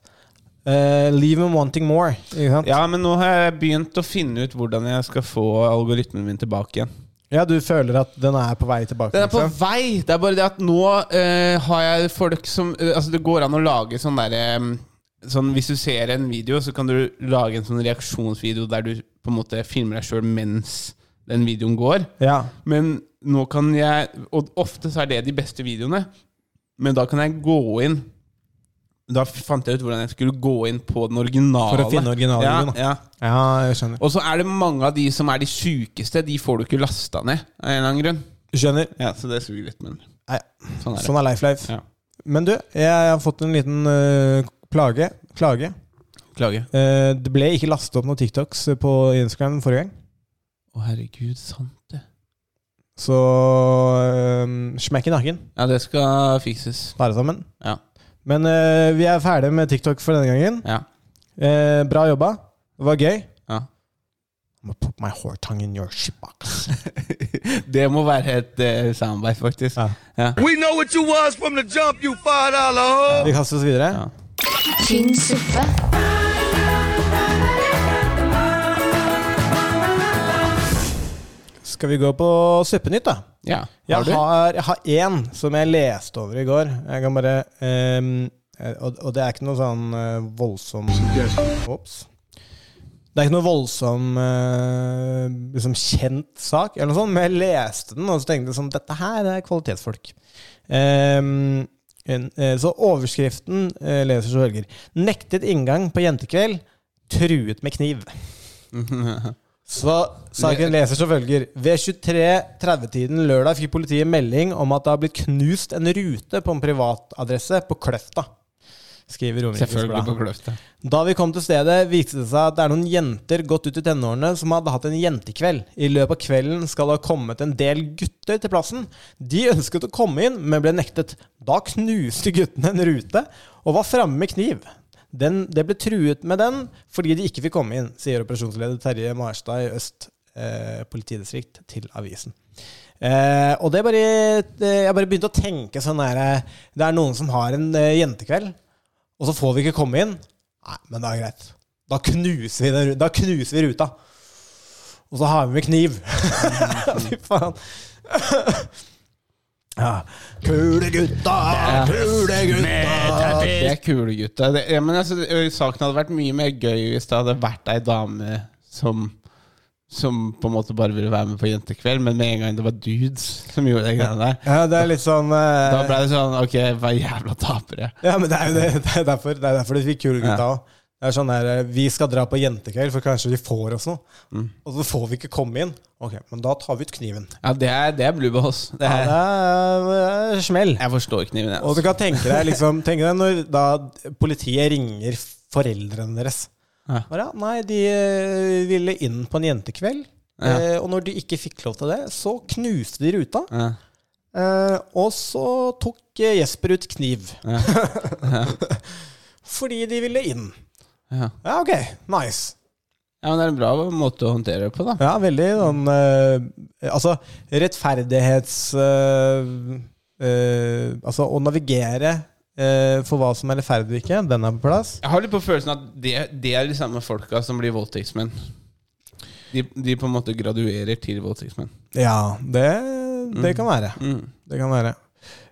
[SPEAKER 4] Eh, leave me wanting more. Ikke sant?
[SPEAKER 3] Ja, men nå har jeg begynt å finne ut hvordan jeg skal få algoritmen min tilbake igjen.
[SPEAKER 4] Ja, du føler at den er på vei tilbake?
[SPEAKER 3] Den er på
[SPEAKER 4] liksom?
[SPEAKER 3] vei! Det er bare det at nå eh, har jeg folk som eh, Altså, det går an å lage sånn derre Sånn, Hvis du ser en video, så kan du lage en sånn reaksjonsvideo der du på en måte filmer deg sjøl mens den videoen går.
[SPEAKER 4] Ja.
[SPEAKER 3] Men nå kan jeg Og ofte så er det de beste videoene. Men da kan jeg gå inn Da fant jeg ut hvordan jeg skulle gå inn på den originale.
[SPEAKER 4] For å finne originalvideoen, da.
[SPEAKER 3] Ja, ja.
[SPEAKER 4] ja, jeg skjønner.
[SPEAKER 3] Og så er det mange av de som er de sjukeste. De får du ikke lasta ned av en eller annen grunn.
[SPEAKER 4] skjønner.
[SPEAKER 3] Ja, Så det suger litt, men
[SPEAKER 4] Nei,
[SPEAKER 3] sånn er det.
[SPEAKER 4] sånn er life life.
[SPEAKER 3] Ja.
[SPEAKER 4] Men du, jeg har fått en liten eh, plage. Klage.
[SPEAKER 3] Klage.
[SPEAKER 4] Eh, det ble ikke lastet opp noen TikToks på Instagram forrige gang.
[SPEAKER 3] Å, herregud, sant det.
[SPEAKER 4] Så eh, smekk i nakken.
[SPEAKER 3] Ja, det skal fikses.
[SPEAKER 4] Ta det sammen.
[SPEAKER 3] Ja.
[SPEAKER 4] Men eh, vi er ferdige med TikTok for denne gangen.
[SPEAKER 3] Ja.
[SPEAKER 4] Eh, bra jobba. Det var gøy.
[SPEAKER 3] Ja.
[SPEAKER 4] I'm gonna put my whore tongue in your shitbox.
[SPEAKER 3] Det må være et eh, soundbite, faktisk.
[SPEAKER 4] Ja.
[SPEAKER 3] Ja.
[SPEAKER 8] We know what you was from the jump, you five dollar hoe.
[SPEAKER 4] Vi kaster oss videre.
[SPEAKER 3] Ja.
[SPEAKER 1] Tynn suppe.
[SPEAKER 4] Skal vi gå på Suppenytt, da?
[SPEAKER 3] Ja. Har
[SPEAKER 4] Jeg
[SPEAKER 3] du?
[SPEAKER 4] har, jeg har én som jeg leste over i går. Jeg kan bare ehm, og, og det er ikke noe sånn eh, voldsom Ops. Det er ikke noe voldsom eh, liksom kjent sak, eller noe sånt, men jeg leste den, og så tenkte jeg sånn Dette her er kvalitetsfolk. Ehm, en- eh, så overskriften eh, leser så velger. 'Nektet inngang på jentekveld. Truet med kniv'. Så saken leser som følger. Ved 23.30-tiden lørdag fikk politiet melding om at det har blitt knust en rute på en privatadresse på Kløfta. Skriver Romerikes
[SPEAKER 3] Selvfølgelig
[SPEAKER 4] Blad.
[SPEAKER 3] på Kløfta.
[SPEAKER 4] Da vi kom til stedet, viste det seg at det er noen jenter godt ut i tenårene som hadde hatt en jentekveld. I løpet av kvelden skal det ha kommet en del gutter til plassen. De ønsket å komme inn, men ble nektet. Da knuste guttene en rute og var framme med kniv. Den, det ble truet med den fordi de ikke fikk komme inn, sier operasjonsleder Terje Marstad i Øst eh, politidistrikt til avisen. Eh, og det bare, det, jeg bare begynte å tenke sånn her eh, Det er noen som har en eh, jentekveld, og så får vi ikke komme inn. Nei, men det er greit. Da knuser vi, den, ru- da knuser vi ruta. Og så har vi med kniv. Fy faen. ja. Kule gutta, kule gutta.
[SPEAKER 3] Det er kule gutta. Det, ja, men altså, det- saken hadde vært mye mer gøy hvis det hadde vært ei dame som som på en måte bare ville være med på jentekveld, men med en gang det var dudes som gjorde de greiene der.
[SPEAKER 4] Ja, det er litt sånn eh,
[SPEAKER 3] Da ble det sånn Ok, hva jævla tapere.
[SPEAKER 4] Ja, men det er jo det, det er derfor, det er derfor de fikk kule gutta
[SPEAKER 3] Ja.
[SPEAKER 4] òg. Det er sånn der, eh, Vi skal dra på jentekveld, for kanskje de får oss noe.
[SPEAKER 3] Mm.
[SPEAKER 4] Og så får vi ikke komme inn. Ok, Men da tar vi ut kniven.
[SPEAKER 3] Ja, det er, det er blueballs. Det
[SPEAKER 4] Ja,
[SPEAKER 3] er,
[SPEAKER 4] det er, eh, smell.
[SPEAKER 3] jeg forstår kniven, jeg.
[SPEAKER 4] Og du
[SPEAKER 3] Altså.
[SPEAKER 4] kan tenke deg liksom, tenk deg når da politiet ringer foreldrene deres.
[SPEAKER 3] Ja.
[SPEAKER 4] Bare, ja, nei, de eh, ville inn på en jentekveld.
[SPEAKER 3] Ja.
[SPEAKER 4] Eh, og når de ikke fikk lov til det, så knuste de ruta.
[SPEAKER 3] Ja.
[SPEAKER 4] Eh, og så tok eh, Jesper ut kniv.
[SPEAKER 3] Ja. Ja.
[SPEAKER 4] Fordi de ville inn.
[SPEAKER 3] Ja.
[SPEAKER 4] Ja, ok. Nice.
[SPEAKER 3] ja, men det er en bra måte å håndtere det på, da.
[SPEAKER 4] Ja, veldig sånn eh, Altså, rettferdighets... eh, eh, altså, å navigere eh, for hva som er rettferdig og ikke, den er på plass.
[SPEAKER 3] Jeg har litt på følelsen at det, det er de samme folka som blir voldtektsmenn. De, de på en måte graduerer til voldtektsmenn.
[SPEAKER 4] Ja, det, det kan være. Det kan være.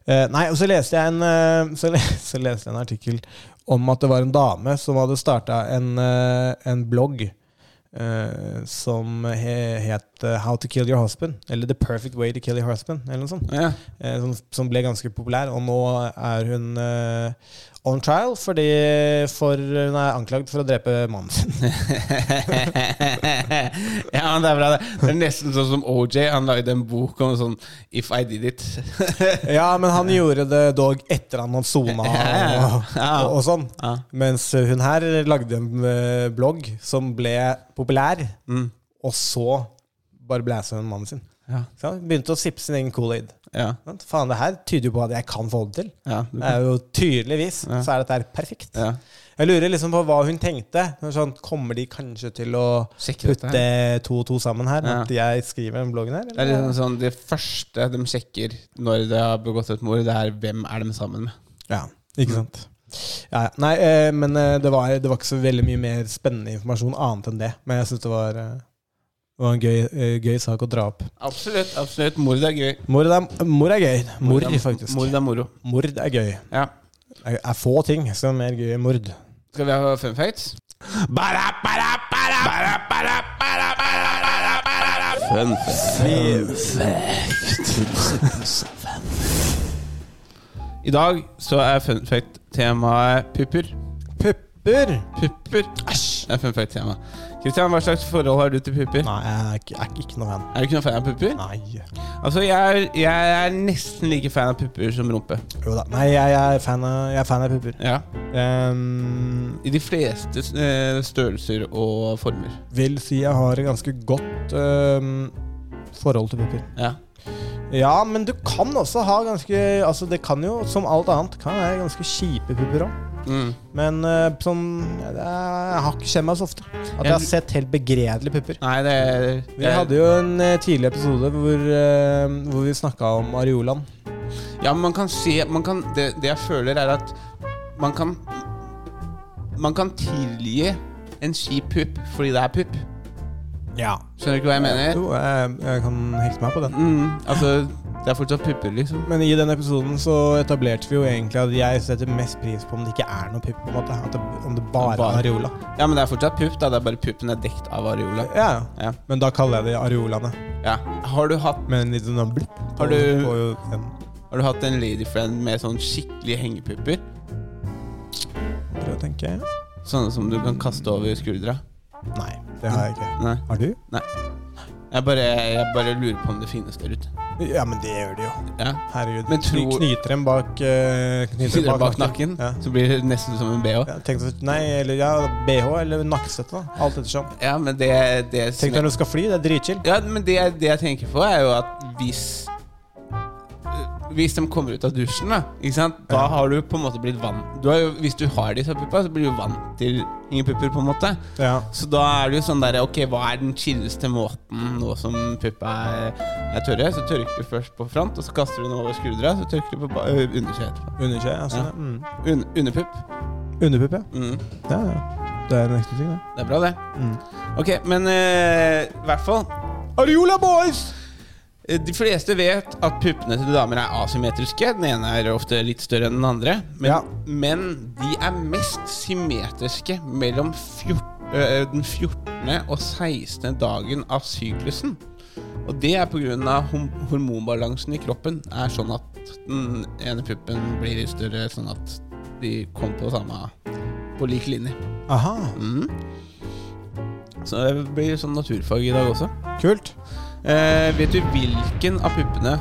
[SPEAKER 4] Eh, nei, og så leste jeg en eh, så, le, så leste jeg en artikkel om at det var en dame som hadde starta en, eh, en blogg eh, som he, het eh, How to kill your husband. Eller The perfect way to kill your husband, eller noe sånt.
[SPEAKER 3] Ja.
[SPEAKER 4] Eh, som, som ble ganske populær. Og nå er hun eh, on trial fordi for, hun er anklagd for å drepe mannen sin.
[SPEAKER 3] ja, men det er bra, det. Det er nesten sånn som OJ. Han lagde en bok om sånn If I did it.
[SPEAKER 4] Ja, men han gjorde det dog etter han hadde sona og, og, og sånn.
[SPEAKER 3] Ja.
[SPEAKER 4] Mens hun her lagde en eh, blogg som ble populær,
[SPEAKER 3] Mm.
[SPEAKER 4] og så bare blæsa hun mannen sin.
[SPEAKER 3] Ja.
[SPEAKER 4] Så han begynte å sippe sin egen Kool-Aid.
[SPEAKER 3] Ja.
[SPEAKER 4] Sant? Faen, det her tyder jo på at jeg kan få det til.
[SPEAKER 3] Ja, du
[SPEAKER 4] det er jo tydeligvis
[SPEAKER 3] Ja.
[SPEAKER 4] så er dette her perfekt.
[SPEAKER 3] Ja.
[SPEAKER 4] Jeg lurer liksom på hva hun tenkte. Hun er Sånn, kommer de kanskje til å
[SPEAKER 3] Sjekke dette
[SPEAKER 4] putte to og to sammen her?
[SPEAKER 3] Ja.
[SPEAKER 4] At jeg skriver den bloggen her?
[SPEAKER 3] Det er liksom sånn Det første de sjekker når de har begått et mord, det er hvem er de sammen med.
[SPEAKER 4] Ja, ikke sant. Ja, ja. nei, eh, men eh, det var, det var ikke så veldig mye mer spennende informasjon annet enn det. Men jeg syns det var, eh, det var en gøy, eh, gøy sak å dra opp.
[SPEAKER 3] Absolutt. absolutt Mord er gøy.
[SPEAKER 4] Mord er, mor er gøy. Mord,
[SPEAKER 3] Mord er-
[SPEAKER 4] faktisk.
[SPEAKER 3] mord er moro.
[SPEAKER 4] Mord er gøy.
[SPEAKER 3] Ja.
[SPEAKER 4] Det er få ting som er mer gøy enn mord.
[SPEAKER 3] Skal vi ha fun facts? Fun I dag så er fun fact temaet pupper.
[SPEAKER 4] Pupper!
[SPEAKER 3] Pupper. Æsj! Det er fun fact tema. Kristian, hva slags forhold har du til pupper?
[SPEAKER 4] Nei, jeg er ikke, jeg er ikke noe fan.
[SPEAKER 3] Er du ikke noen fan av pupper?
[SPEAKER 4] Nei.
[SPEAKER 3] Altså, jeg er, jeg er nesten like fan av pupper som rumpe.
[SPEAKER 4] Jo da. Nei, jeg, jeg, er, fan av, jeg er fan av pupper.
[SPEAKER 3] Ja.
[SPEAKER 4] Ehm,
[SPEAKER 3] I de fleste eh, størrelser og former.
[SPEAKER 4] vil si jeg har et ganske godt ehm, forhold til pupper.
[SPEAKER 3] Ja.
[SPEAKER 4] Ja, men du kan også ha ganske Altså, det kan jo, som alt annet, kan være ganske kjipe pupper òg.
[SPEAKER 3] Mm.
[SPEAKER 4] Men eh, sånn ja, det er, Jeg har ikke skjedd meg så ofte at jeg har sett helt begredelige pupper.
[SPEAKER 3] Nei, det er
[SPEAKER 4] Vi hadde jo en eh, tidlig episode hvor, eh, hvor vi snakka om areolaen.
[SPEAKER 3] Ja, men man kan se man kan, det, det jeg føler, er at man kan Man kan tilgi en kjip pupp fordi det er pupp.
[SPEAKER 4] Ja.
[SPEAKER 3] Skjønner du ikke hva jeg mener?
[SPEAKER 4] Jo, jeg, jeg kan hekte meg på den.
[SPEAKER 3] altså, det er fortsatt pupper, liksom.
[SPEAKER 4] Men i den episoden så etablerte vi jo egentlig at jeg setter mest pris på om det ikke er noe pupp. på en måte. At det, om det bare,
[SPEAKER 3] Bare.
[SPEAKER 4] er areola.
[SPEAKER 3] Ja, men det er fortsatt pupp, da. Det er bare puppen er dekt av areola.
[SPEAKER 4] Ja, ja. Men da kaller jeg det areolaene.
[SPEAKER 3] Ja. Har du hatt
[SPEAKER 4] Med en liten sånn blipp. på-
[SPEAKER 3] Har du-
[SPEAKER 4] på en
[SPEAKER 3] Har du hatt en ladyfriend med sånn skikkelig hengepupper?
[SPEAKER 4] Prøv å tenke.
[SPEAKER 3] Sånne som du kan kaste over skuldra?
[SPEAKER 4] Nei, det har jeg ikke.
[SPEAKER 3] Nei.
[SPEAKER 4] Har du?
[SPEAKER 3] Nei. Jeg bare, jeg bare lurer på om det finnes der ute.
[SPEAKER 4] Ja, men det gjør det jo.
[SPEAKER 3] Ja.
[SPEAKER 4] Herregud.
[SPEAKER 3] Men
[SPEAKER 4] Men
[SPEAKER 3] tro-
[SPEAKER 4] Knyter dem bak, eh, knyter
[SPEAKER 3] Sitter
[SPEAKER 4] dem
[SPEAKER 3] bak nakken,
[SPEAKER 4] Ja.
[SPEAKER 3] så blir det nesten som en bh.
[SPEAKER 4] Ja, tenk deg- nei, eller ja, BH eller nakkestøtte. da. Alt ettersom.
[SPEAKER 3] Ja, men det, det som
[SPEAKER 4] Tenk deg når du skal fly. Det er dritchill.
[SPEAKER 3] Ja, men det, jeg- det jeg tenker på, er jo at hvis øh, Hvis de kommer ut av dusjen, da, ikke sant? da har du på en måte blitt vant du har jo, Hvis du har disse puppa, så blir du vant til ingen pupper, på en måte.
[SPEAKER 4] Ja.
[SPEAKER 3] Så da er det jo sånn derre Ok, hva er den chilleste måten nå som puppa er, er tørre? Så tørker du først på front, og så kaster du den over skuldra, så tørker du på ba- ø, underkjø etterpå.
[SPEAKER 4] Underkjø, ja, sånn, ja. Mm.
[SPEAKER 3] Un, underpupp.
[SPEAKER 4] Underpupp, ja.
[SPEAKER 3] Mm.
[SPEAKER 4] Ja, ja. Det er en ekte ting, det.
[SPEAKER 3] Det er bra, det.
[SPEAKER 4] Mm.
[SPEAKER 3] Ok, men eh, i hvert fall
[SPEAKER 4] Ariola boys!
[SPEAKER 3] Eh, De fleste vet at puppene til damer er asymmetriske. Den ene er ofte litt større enn den andre. Men,
[SPEAKER 4] Ja.
[SPEAKER 3] men de er mest symmetriske mellom fjort, ø, den 14. og 16. dagen av syklusen. Og det er pga. hormonbalansen i kroppen er sånn at den ene puppen blir litt større, sånn at de kommer på samme på lik linje.
[SPEAKER 4] Aha,
[SPEAKER 3] Mhm. Så det blir sånn naturfag i dag også.
[SPEAKER 4] kult.
[SPEAKER 3] Eh, vet du hvilken av puppene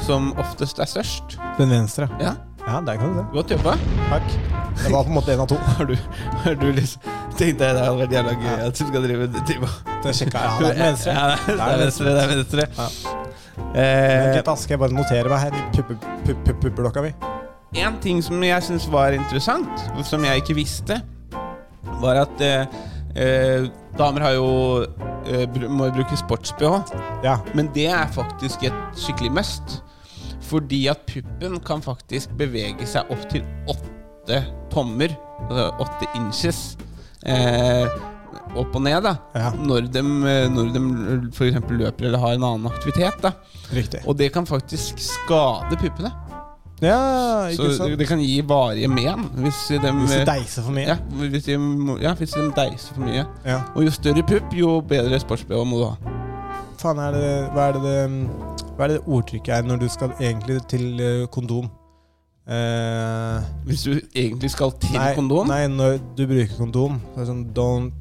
[SPEAKER 3] som oftest er størst?
[SPEAKER 4] Den venstre.
[SPEAKER 3] Ja,
[SPEAKER 4] Ja, der kan du se.
[SPEAKER 3] Godt jobba.
[SPEAKER 4] Takk. Det var på en måte en av to.
[SPEAKER 3] Har du, har du liksom Tenkte jeg det hadde vært jævla gøy at du skal drive det til
[SPEAKER 4] Det sjekket jeg. Ja, det er den venstre.
[SPEAKER 3] Ja, det er venstre. Det er venstre.
[SPEAKER 4] Men
[SPEAKER 3] Eh,
[SPEAKER 4] Greit, Aske, jeg bare noterer meg her i puppe- puppe- puppe- puppelokka mi.
[SPEAKER 3] en ting som jeg syns var interessant, som jeg ikke visste, var at eh, eh, damer har jo eh, br- må jo bruke sports-BH.
[SPEAKER 4] Ja.
[SPEAKER 3] Men det er faktisk et skikkelig must. Fordi at puppen kan faktisk bevege seg opp til åtte tommer, altså åtte inches, eh, opp og ned, da.
[SPEAKER 4] Ja.
[SPEAKER 3] Når de, når de f.eks. løper eller har en annen aktivitet. da
[SPEAKER 4] Riktig.
[SPEAKER 3] Og det kan faktisk skade puppene.
[SPEAKER 4] Ja,
[SPEAKER 3] Så
[SPEAKER 4] ikke sant?
[SPEAKER 3] det kan gi varige men hvis de
[SPEAKER 4] Hvis du deiser for mye.
[SPEAKER 3] ja, hvis de, ja, hvis de deiser for mye.
[SPEAKER 4] Ja.
[SPEAKER 3] Og jo større pupp, jo bedre sports-BH må du ha.
[SPEAKER 4] Faen, er det, hva, er det, det, hva er det det ordtrykket er når du skal egentlig til eh, kondom? Eh,
[SPEAKER 3] Hvis du egentlig skal til
[SPEAKER 4] nei,
[SPEAKER 3] kondom.
[SPEAKER 4] Nei, når du bruker kondom, så er det sånn don't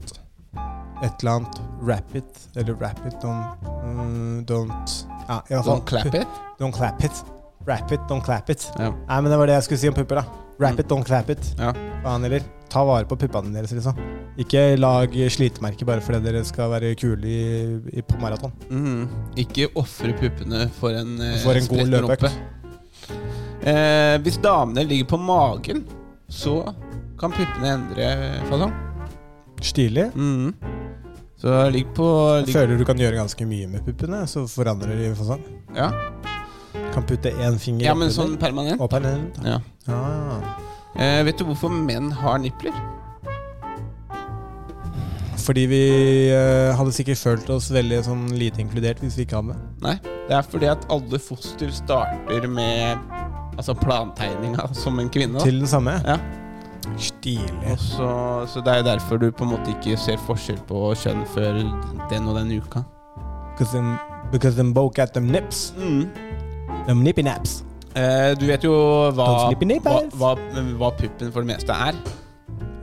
[SPEAKER 4] et eller annet wrap it, eller wrap it, don't mm, Don't ja, i hvert fall,
[SPEAKER 3] Sånn clap it.
[SPEAKER 4] Don't clap it. Wrap it, don't clap it.
[SPEAKER 3] Ja.
[SPEAKER 4] Nei, men det var det jeg skulle si om pupper, da. Wrap
[SPEAKER 3] Mm.
[SPEAKER 4] it, don't clap it.
[SPEAKER 3] Ja.
[SPEAKER 4] Faen heller. Ta vare på puppene deres, liksom. Ikke lag slitemerker bare fordi dere skal være kule i, i, på maraton.
[SPEAKER 3] Mhm. Ikke ofre puppene for en, eh,
[SPEAKER 4] For en god
[SPEAKER 3] spretten
[SPEAKER 4] løpeøkt.
[SPEAKER 3] rumpe. Eh, hvis damene ligger på magen, så kan puppene endre eh, fasong.
[SPEAKER 4] Stilig.
[SPEAKER 3] Mhm. Så ligg på
[SPEAKER 4] Jeg
[SPEAKER 3] ligg-
[SPEAKER 4] føler du kan gjøre ganske mye med puppene, så forandrer de fasong.
[SPEAKER 3] ja.
[SPEAKER 4] sånn. Kan putte én finger
[SPEAKER 3] ja, men sånn
[SPEAKER 4] oppunder,
[SPEAKER 3] permanent.
[SPEAKER 4] og permanent.
[SPEAKER 3] Ja.
[SPEAKER 4] Ah,
[SPEAKER 3] Eh, vet du hvorfor menn har nipler?
[SPEAKER 4] fordi vi eh, hadde sikkert følt oss veldig sånn lite inkludert hvis vi ikke hadde det.
[SPEAKER 3] Nei, det er fordi at alle foster starter med Altså plantegninga som en kvinne. da.
[SPEAKER 4] Til den samme?
[SPEAKER 3] Ja.
[SPEAKER 4] Stilig.
[SPEAKER 3] Og så, så det er jo derfor du på en måte ikke ser forskjell på kjønn før den og den uka.
[SPEAKER 4] Because them, because them both got them nips.
[SPEAKER 3] Mhm.
[SPEAKER 4] Them nippy naps.
[SPEAKER 3] Eh, du vet jo hva,
[SPEAKER 4] Don't sleep in the
[SPEAKER 3] hva,
[SPEAKER 4] beds.
[SPEAKER 3] hva, hva puppen for det meste er.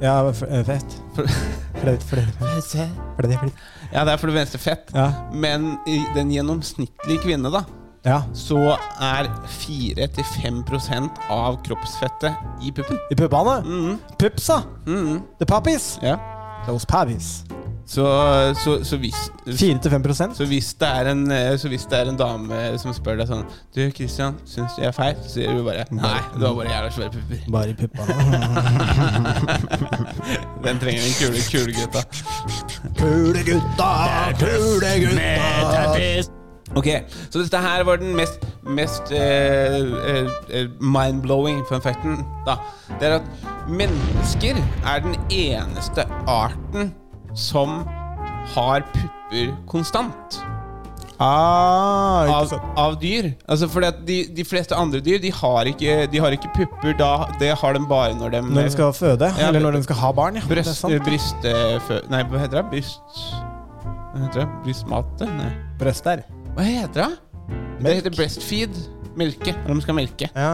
[SPEAKER 4] Ja, f- eh, fett.
[SPEAKER 3] For,
[SPEAKER 4] Flaut, flaut, flaut, flaut.
[SPEAKER 3] ja, det er for det meste fett.
[SPEAKER 4] Ja.
[SPEAKER 3] Men i den gjennomsnittlige kvinne, da,
[SPEAKER 4] ja.
[SPEAKER 3] så er 4-5 av kroppsfettet i puppen.
[SPEAKER 4] I puppene? Pupsa!
[SPEAKER 3] Mhm,
[SPEAKER 4] The puppies!
[SPEAKER 3] Mm. ja.
[SPEAKER 4] Those puppies.
[SPEAKER 3] Så, så, så hvis
[SPEAKER 4] 4-5
[SPEAKER 3] så hvis, det er en, eh, så hvis det er en dame som spør deg sånn Du, Christian, syns du jeg er feil? Så sier du bare Nei, du har bare jævla svære pupper.
[SPEAKER 4] Bare i puppene.
[SPEAKER 3] Den trenger den kule, kule gutta.
[SPEAKER 4] Kule gutta! Kule gutta!
[SPEAKER 3] Ok, så dette her var den mest, mest eh, eh, eh, mind-blowing fun facten. Da. Det er at mennesker er den eneste arten som har pupper konstant.
[SPEAKER 4] Ah,
[SPEAKER 3] av, av dyr. Altså fordi at de, de fleste andre dyr De har ikke, de har ikke pupper. Da, det har de bare når de
[SPEAKER 4] Når de skal føde, eller når de skal ha barn. Ja. Det er
[SPEAKER 3] Brøst,
[SPEAKER 4] sant.
[SPEAKER 3] brystfø... Nei, hva heter det? Bryst... Hva heter det? Brystmate? Nei.
[SPEAKER 4] Brøst der.
[SPEAKER 3] Hva heter det? Det heter breastfeed. Melke. Når de skal melke.
[SPEAKER 4] ja,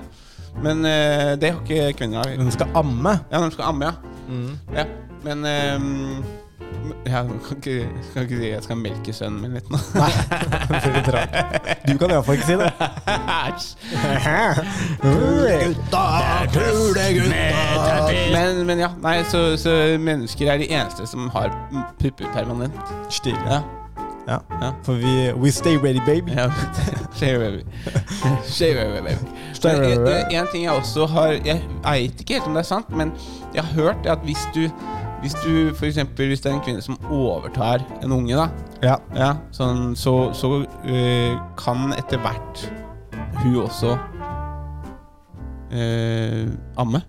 [SPEAKER 4] Mm.
[SPEAKER 3] ja. Men eh, det har ikke kvinner.
[SPEAKER 4] De skal amme.
[SPEAKER 3] Ja, når de skal amme, ja.
[SPEAKER 4] Mm.
[SPEAKER 3] ja. Men ehm, ja, jeg kan ikke, kan ikke si jeg skal melke sønnen min litt nå.
[SPEAKER 4] Det blir litt rart. Du kan iallfall ikke si det. Gutta, kule gutta.
[SPEAKER 3] Men, men ja, nei, så, så mennesker er de eneste som har pupper permanent.
[SPEAKER 4] Stilig.
[SPEAKER 3] Ja.
[SPEAKER 4] Ja. For vi We stay ready, baby.
[SPEAKER 3] Ja. Stay ready. Stay ready, baby.
[SPEAKER 4] Stay
[SPEAKER 3] Men eh,
[SPEAKER 4] ready.
[SPEAKER 3] en- En ting jeg også har Jeg veit ikke helt om det er sant, men jeg har hørt at hvis du hvis du for eksempel, hvis det er en kvinne som overtar en unge, da,
[SPEAKER 4] Ja.
[SPEAKER 3] ja, sånn, så, så øh, kan etter hvert hun også øh, amme.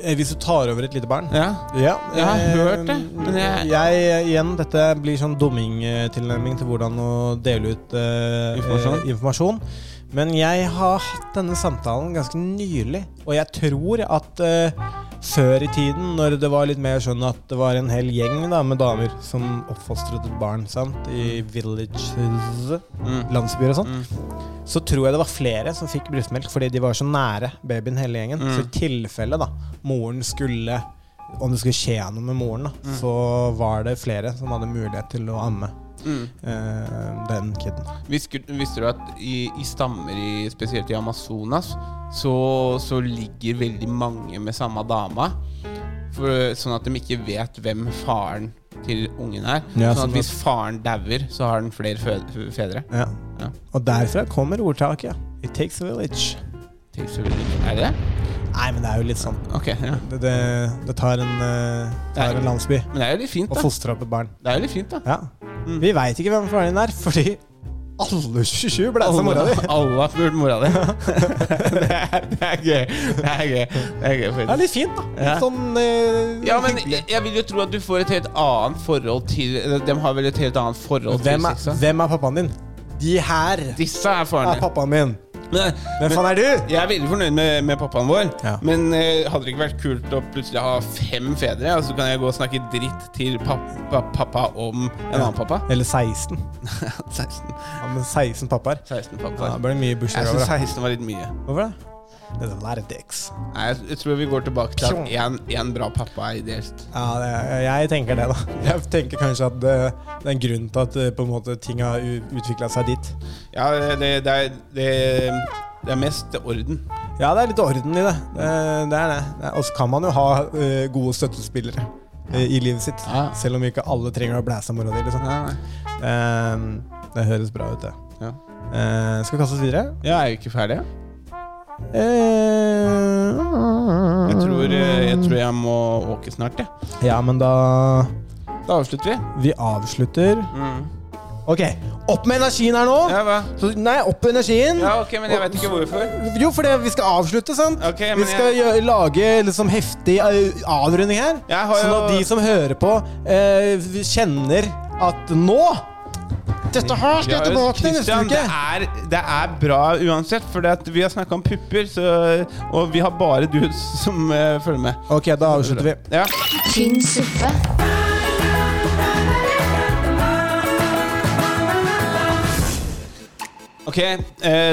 [SPEAKER 4] Eh, Hvis du tar over et lite barn?
[SPEAKER 3] Ja.
[SPEAKER 4] Ja,
[SPEAKER 3] Jeg har
[SPEAKER 4] eh,
[SPEAKER 3] hørt det, men jeg-
[SPEAKER 4] jeg- Igjen, dette blir sånn dummingtilnærming til hvordan å dele ut eh,
[SPEAKER 3] Informasjon.
[SPEAKER 4] eh, informasjon. Men jeg har hatt denne samtalen ganske nylig, og jeg tror at eh, før i tiden, når det var litt mer sånn at det var en hel gjeng da, med damer som oppfostret et barn sant,
[SPEAKER 3] Mm.
[SPEAKER 4] i villages, landsbyer og sånn, så tror jeg det var flere som fikk brystmelk fordi de var så nære babyen hele gjengen.
[SPEAKER 3] Mm.
[SPEAKER 4] Så i tilfelle da moren skulle Om det skulle skje noe med moren, da, så var det flere som hadde mulighet til å amme
[SPEAKER 3] Mm.
[SPEAKER 4] eh, den kiden.
[SPEAKER 3] Visste, visste du at i, i stammer, i, spesielt i Amazonas, så, så ligger veldig mange med samme dama? For, sånn at de ikke vet hvem faren til ungen er.
[SPEAKER 4] Ja,
[SPEAKER 3] sånn
[SPEAKER 4] sånn
[SPEAKER 3] at hvis faren dauer, så har den flere fø fedre.
[SPEAKER 4] Ja.
[SPEAKER 3] Ja.
[SPEAKER 4] Og derfra kommer ordtaket. It takes a village.
[SPEAKER 3] Til så veldig mye. Er det det?
[SPEAKER 4] Nei, men det er jo litt sånn.
[SPEAKER 3] Ok, ja.
[SPEAKER 4] Det, det, det tar en, eh, tar en landsby
[SPEAKER 3] Men det er jo litt fint,
[SPEAKER 4] å
[SPEAKER 3] da.
[SPEAKER 4] fostre opp et barn.
[SPEAKER 3] Det er jo litt fint, da.
[SPEAKER 4] Ja.
[SPEAKER 3] Mm.
[SPEAKER 4] Vi veit ikke hvem faren din er, fordi alle 27 ble som mora di.
[SPEAKER 3] alle har spurt mora di. det, er- det er gøy. Det er gøy. Det er gøy
[SPEAKER 4] Det
[SPEAKER 3] faktisk.
[SPEAKER 4] er litt fint, da.
[SPEAKER 3] Ja.
[SPEAKER 4] Sånn eh,
[SPEAKER 3] Ja, men jeg, jeg vil jo tro at du får et helt annet forhold til eller De har vel et helt annet forhold
[SPEAKER 4] hvem,
[SPEAKER 3] til sexa?
[SPEAKER 4] er, hvem er pappaen din? De her
[SPEAKER 3] Disse er
[SPEAKER 4] er
[SPEAKER 3] faren din.
[SPEAKER 4] pappaen min.
[SPEAKER 3] Men,
[SPEAKER 4] Hvem faen er du?
[SPEAKER 3] jeg er veldig fornøyd med, med pappaen vår,
[SPEAKER 4] Ja.
[SPEAKER 3] men eh, hadde det ikke vært kult å plutselig ha fem fedre? Og så kan jeg gå og snakke dritt til pappa, pappa om en annen pappa?
[SPEAKER 4] Eller 16.
[SPEAKER 3] 16.
[SPEAKER 4] Ja, men 16 pappaer.
[SPEAKER 3] 16
[SPEAKER 4] Ja,
[SPEAKER 3] pappaer.
[SPEAKER 4] da blir det mye
[SPEAKER 3] jeg
[SPEAKER 4] bursdager
[SPEAKER 3] syns
[SPEAKER 4] over. da.
[SPEAKER 3] 16 var litt mye.
[SPEAKER 4] Hvorfor det? sånn There's a lot of dicks.
[SPEAKER 3] Nei, jeg, jeg tror vi går tilbake til at én- én bra pappa er ideelt.
[SPEAKER 4] Ja, det, jeg tenker det, da. Jeg tenker kanskje at det, det er en grunn til at eh, på en måte, ting har utvikla seg dit.
[SPEAKER 3] Ja, det, det, er, det, det er mest orden.
[SPEAKER 4] Ja, det er litt orden i det. Det, det er det. det. er- Og så kan man jo ha eh, gode støttespillere eh, i livet sitt.
[SPEAKER 3] Ja.
[SPEAKER 4] Selv om ikke alle trenger å blæse mora di. Liksom.
[SPEAKER 3] Nei, nei.
[SPEAKER 4] Eh, det høres bra ut, det.
[SPEAKER 3] Ja.
[SPEAKER 4] Eh, skal vi kaste oss videre? Eh,
[SPEAKER 3] Jeg er jo ikke ferdig. jeg.
[SPEAKER 4] Jeg
[SPEAKER 3] Jeg tror, eh, jeg, tror jeg må åke snart, jeg.
[SPEAKER 4] Ja, men da
[SPEAKER 3] Da avslutter vi.
[SPEAKER 4] Vi avslutter. Ok, opp med energien her nå!
[SPEAKER 3] Mm. Ja, hva?
[SPEAKER 4] Ah. Så, nei, opp med energien.
[SPEAKER 3] Ja, ok, men jeg vet ikke hvorfor.
[SPEAKER 4] Jo, fordi vi skal avslutte, sant?
[SPEAKER 3] Ok, men
[SPEAKER 4] vi skal gjø- lage liksom heftig eh, avrunding her.
[SPEAKER 3] Jeg har
[SPEAKER 4] Sånn
[SPEAKER 3] jo-
[SPEAKER 4] at de som hører på, eh, kjenner at nå Dette her skal
[SPEAKER 3] Ja,
[SPEAKER 4] jeg tilbake til neste
[SPEAKER 3] Christian, det
[SPEAKER 4] uke!
[SPEAKER 3] er, det er bra uansett, for vi har snakka om pupper, så, og vi har bare du som eh, følger med.
[SPEAKER 4] Ok, da avslutter vi.
[SPEAKER 3] Ja.
[SPEAKER 1] Tynn suppe.
[SPEAKER 3] Ok, eh,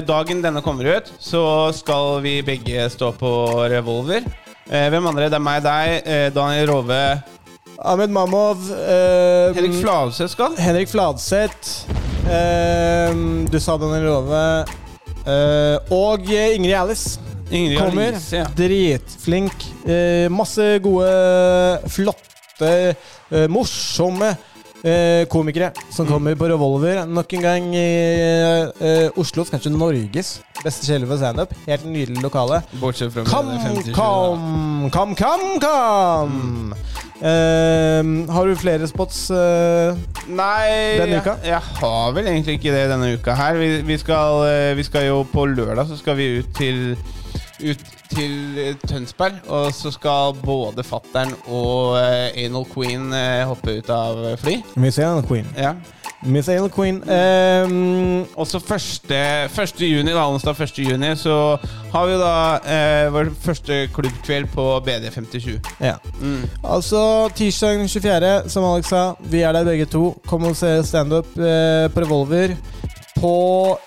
[SPEAKER 3] Dagen denne kommer ut, så skal vi begge stå på revolver. Eh, hvem andre? Det er meg, deg, eh, Daniel Rove
[SPEAKER 4] Ahmed Mamov eh,
[SPEAKER 3] Henrik Flavseth skal.
[SPEAKER 4] Henrik Fladseth. ehm, du sa Daniel Rove. eh, og Ingrid Alice
[SPEAKER 3] Ingrid
[SPEAKER 4] kommer.
[SPEAKER 3] Alice, ja.
[SPEAKER 4] Dritflink. eh, masse gode, flotte, eh, morsomme eh, komikere som
[SPEAKER 3] Mm.
[SPEAKER 4] kommer på Revolver. Nok en gang eh, eh, Oslos, kanskje Norges beste kjele for standup. Helt nydelig lokale.
[SPEAKER 3] Bortsett fra
[SPEAKER 4] Kom,
[SPEAKER 3] med 57, da.
[SPEAKER 4] kom, kom, kom, kom! Eh, har du flere spots? eh?
[SPEAKER 3] Nei,
[SPEAKER 4] Denne uka?
[SPEAKER 3] Jeg, jeg har vel egentlig ikke det denne uka her. Vi, vi, skal, eh, vi skal jo på lørdag så skal vi ut til ut til eh, Tønsberg, og så skal både fattern og eh, Anal Queen eh, hoppe ut av eh, fly.
[SPEAKER 4] Miss Anal Queen.
[SPEAKER 3] Ja. Ehm,
[SPEAKER 4] Miss Anal Queen. Eh,
[SPEAKER 3] og så første, første juni, da, onsdag 1. juni, så har vi da eh, vår første klubbkveld på BD57.
[SPEAKER 4] Ja.
[SPEAKER 3] Mm.
[SPEAKER 4] Altså, tirsdag den 24., som Alex sa, vi er der begge to. Kom og se standup eh, på Revolver. På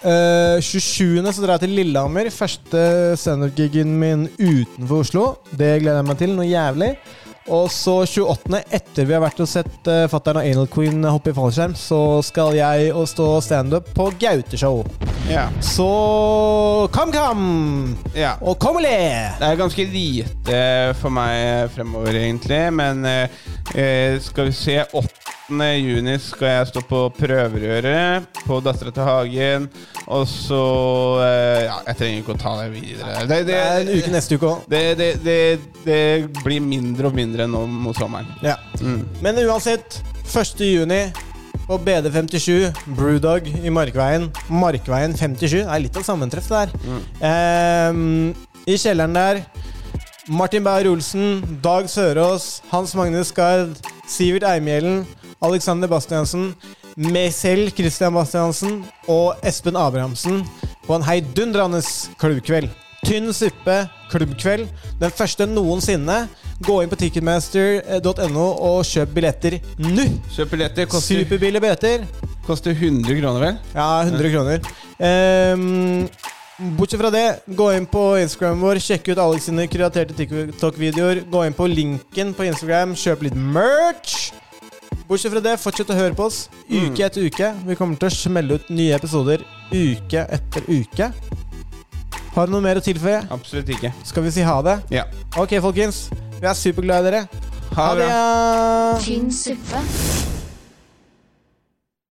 [SPEAKER 4] eh, 27. så drar jeg til Lillehammer. Første standup-gigen min utenfor Oslo. Det gleder jeg meg til noe jævlig. Og så 28., etter vi har vært og sett eh, Fattern og Anal Queen hoppe i fallskjerm, så skal jeg og stå standup på Gauteshow.
[SPEAKER 3] Ja.
[SPEAKER 4] Så kom, kom!
[SPEAKER 3] Ja.
[SPEAKER 4] Og kom og le!
[SPEAKER 3] Det er ganske lite eh, for meg fremover, egentlig. Men eh, eh, skal vi se 8. juni skal jeg stå på prøverøret på Dattera til Hagen. Og så eh, Ja, jeg trenger ikke å ta det videre. Det, det,
[SPEAKER 4] Det er en uke neste uke òg.
[SPEAKER 3] det, det, det, det blir mindre og mindre nå mot sommeren.
[SPEAKER 4] Ja.
[SPEAKER 3] Mm.
[SPEAKER 4] Men uansett, 1. juni på BD57, Brewdog i Markveien. Markveien 57. Det er litt av sammentreff, det der. Ehm, I kjelleren der Martin Beyer-Olsen, Dag Sørås, Hans Magnus Gard, Sivert Eimhjellen, Alexander Bastiansen, meg selv, Christian Bastiansen, og Espen Abrahamsen på en heidundrende klubbkveld. Tynn suppe klubbkveld. Den første noensinne. Gå inn på ticketmaster.no og kjøp billetter nå!
[SPEAKER 3] Kjøp billetter. Koster,
[SPEAKER 4] Superbillige billetter.
[SPEAKER 3] koster 100 kroner, vel?
[SPEAKER 4] Ja, 100 kroner. Ehm, bortsett fra det, gå inn på Instagram vår, sjekk ut Alex sine kreaterte TikTok-videoer. Gå inn på linken på Instagram, kjøp litt merch. Bortsett fra det, fortsett å høre på oss uke etter uke. Vi kommer til å smelle ut nye episoder uke etter uke. Har du noe mer å tilføye?
[SPEAKER 3] Absolutt ikke.
[SPEAKER 4] Skal vi si ha det?
[SPEAKER 3] Ja.
[SPEAKER 4] Ok, folkens. Vi er superglade i dere.
[SPEAKER 3] Ha det bra.
[SPEAKER 4] ja.
[SPEAKER 1] Tynn suppe.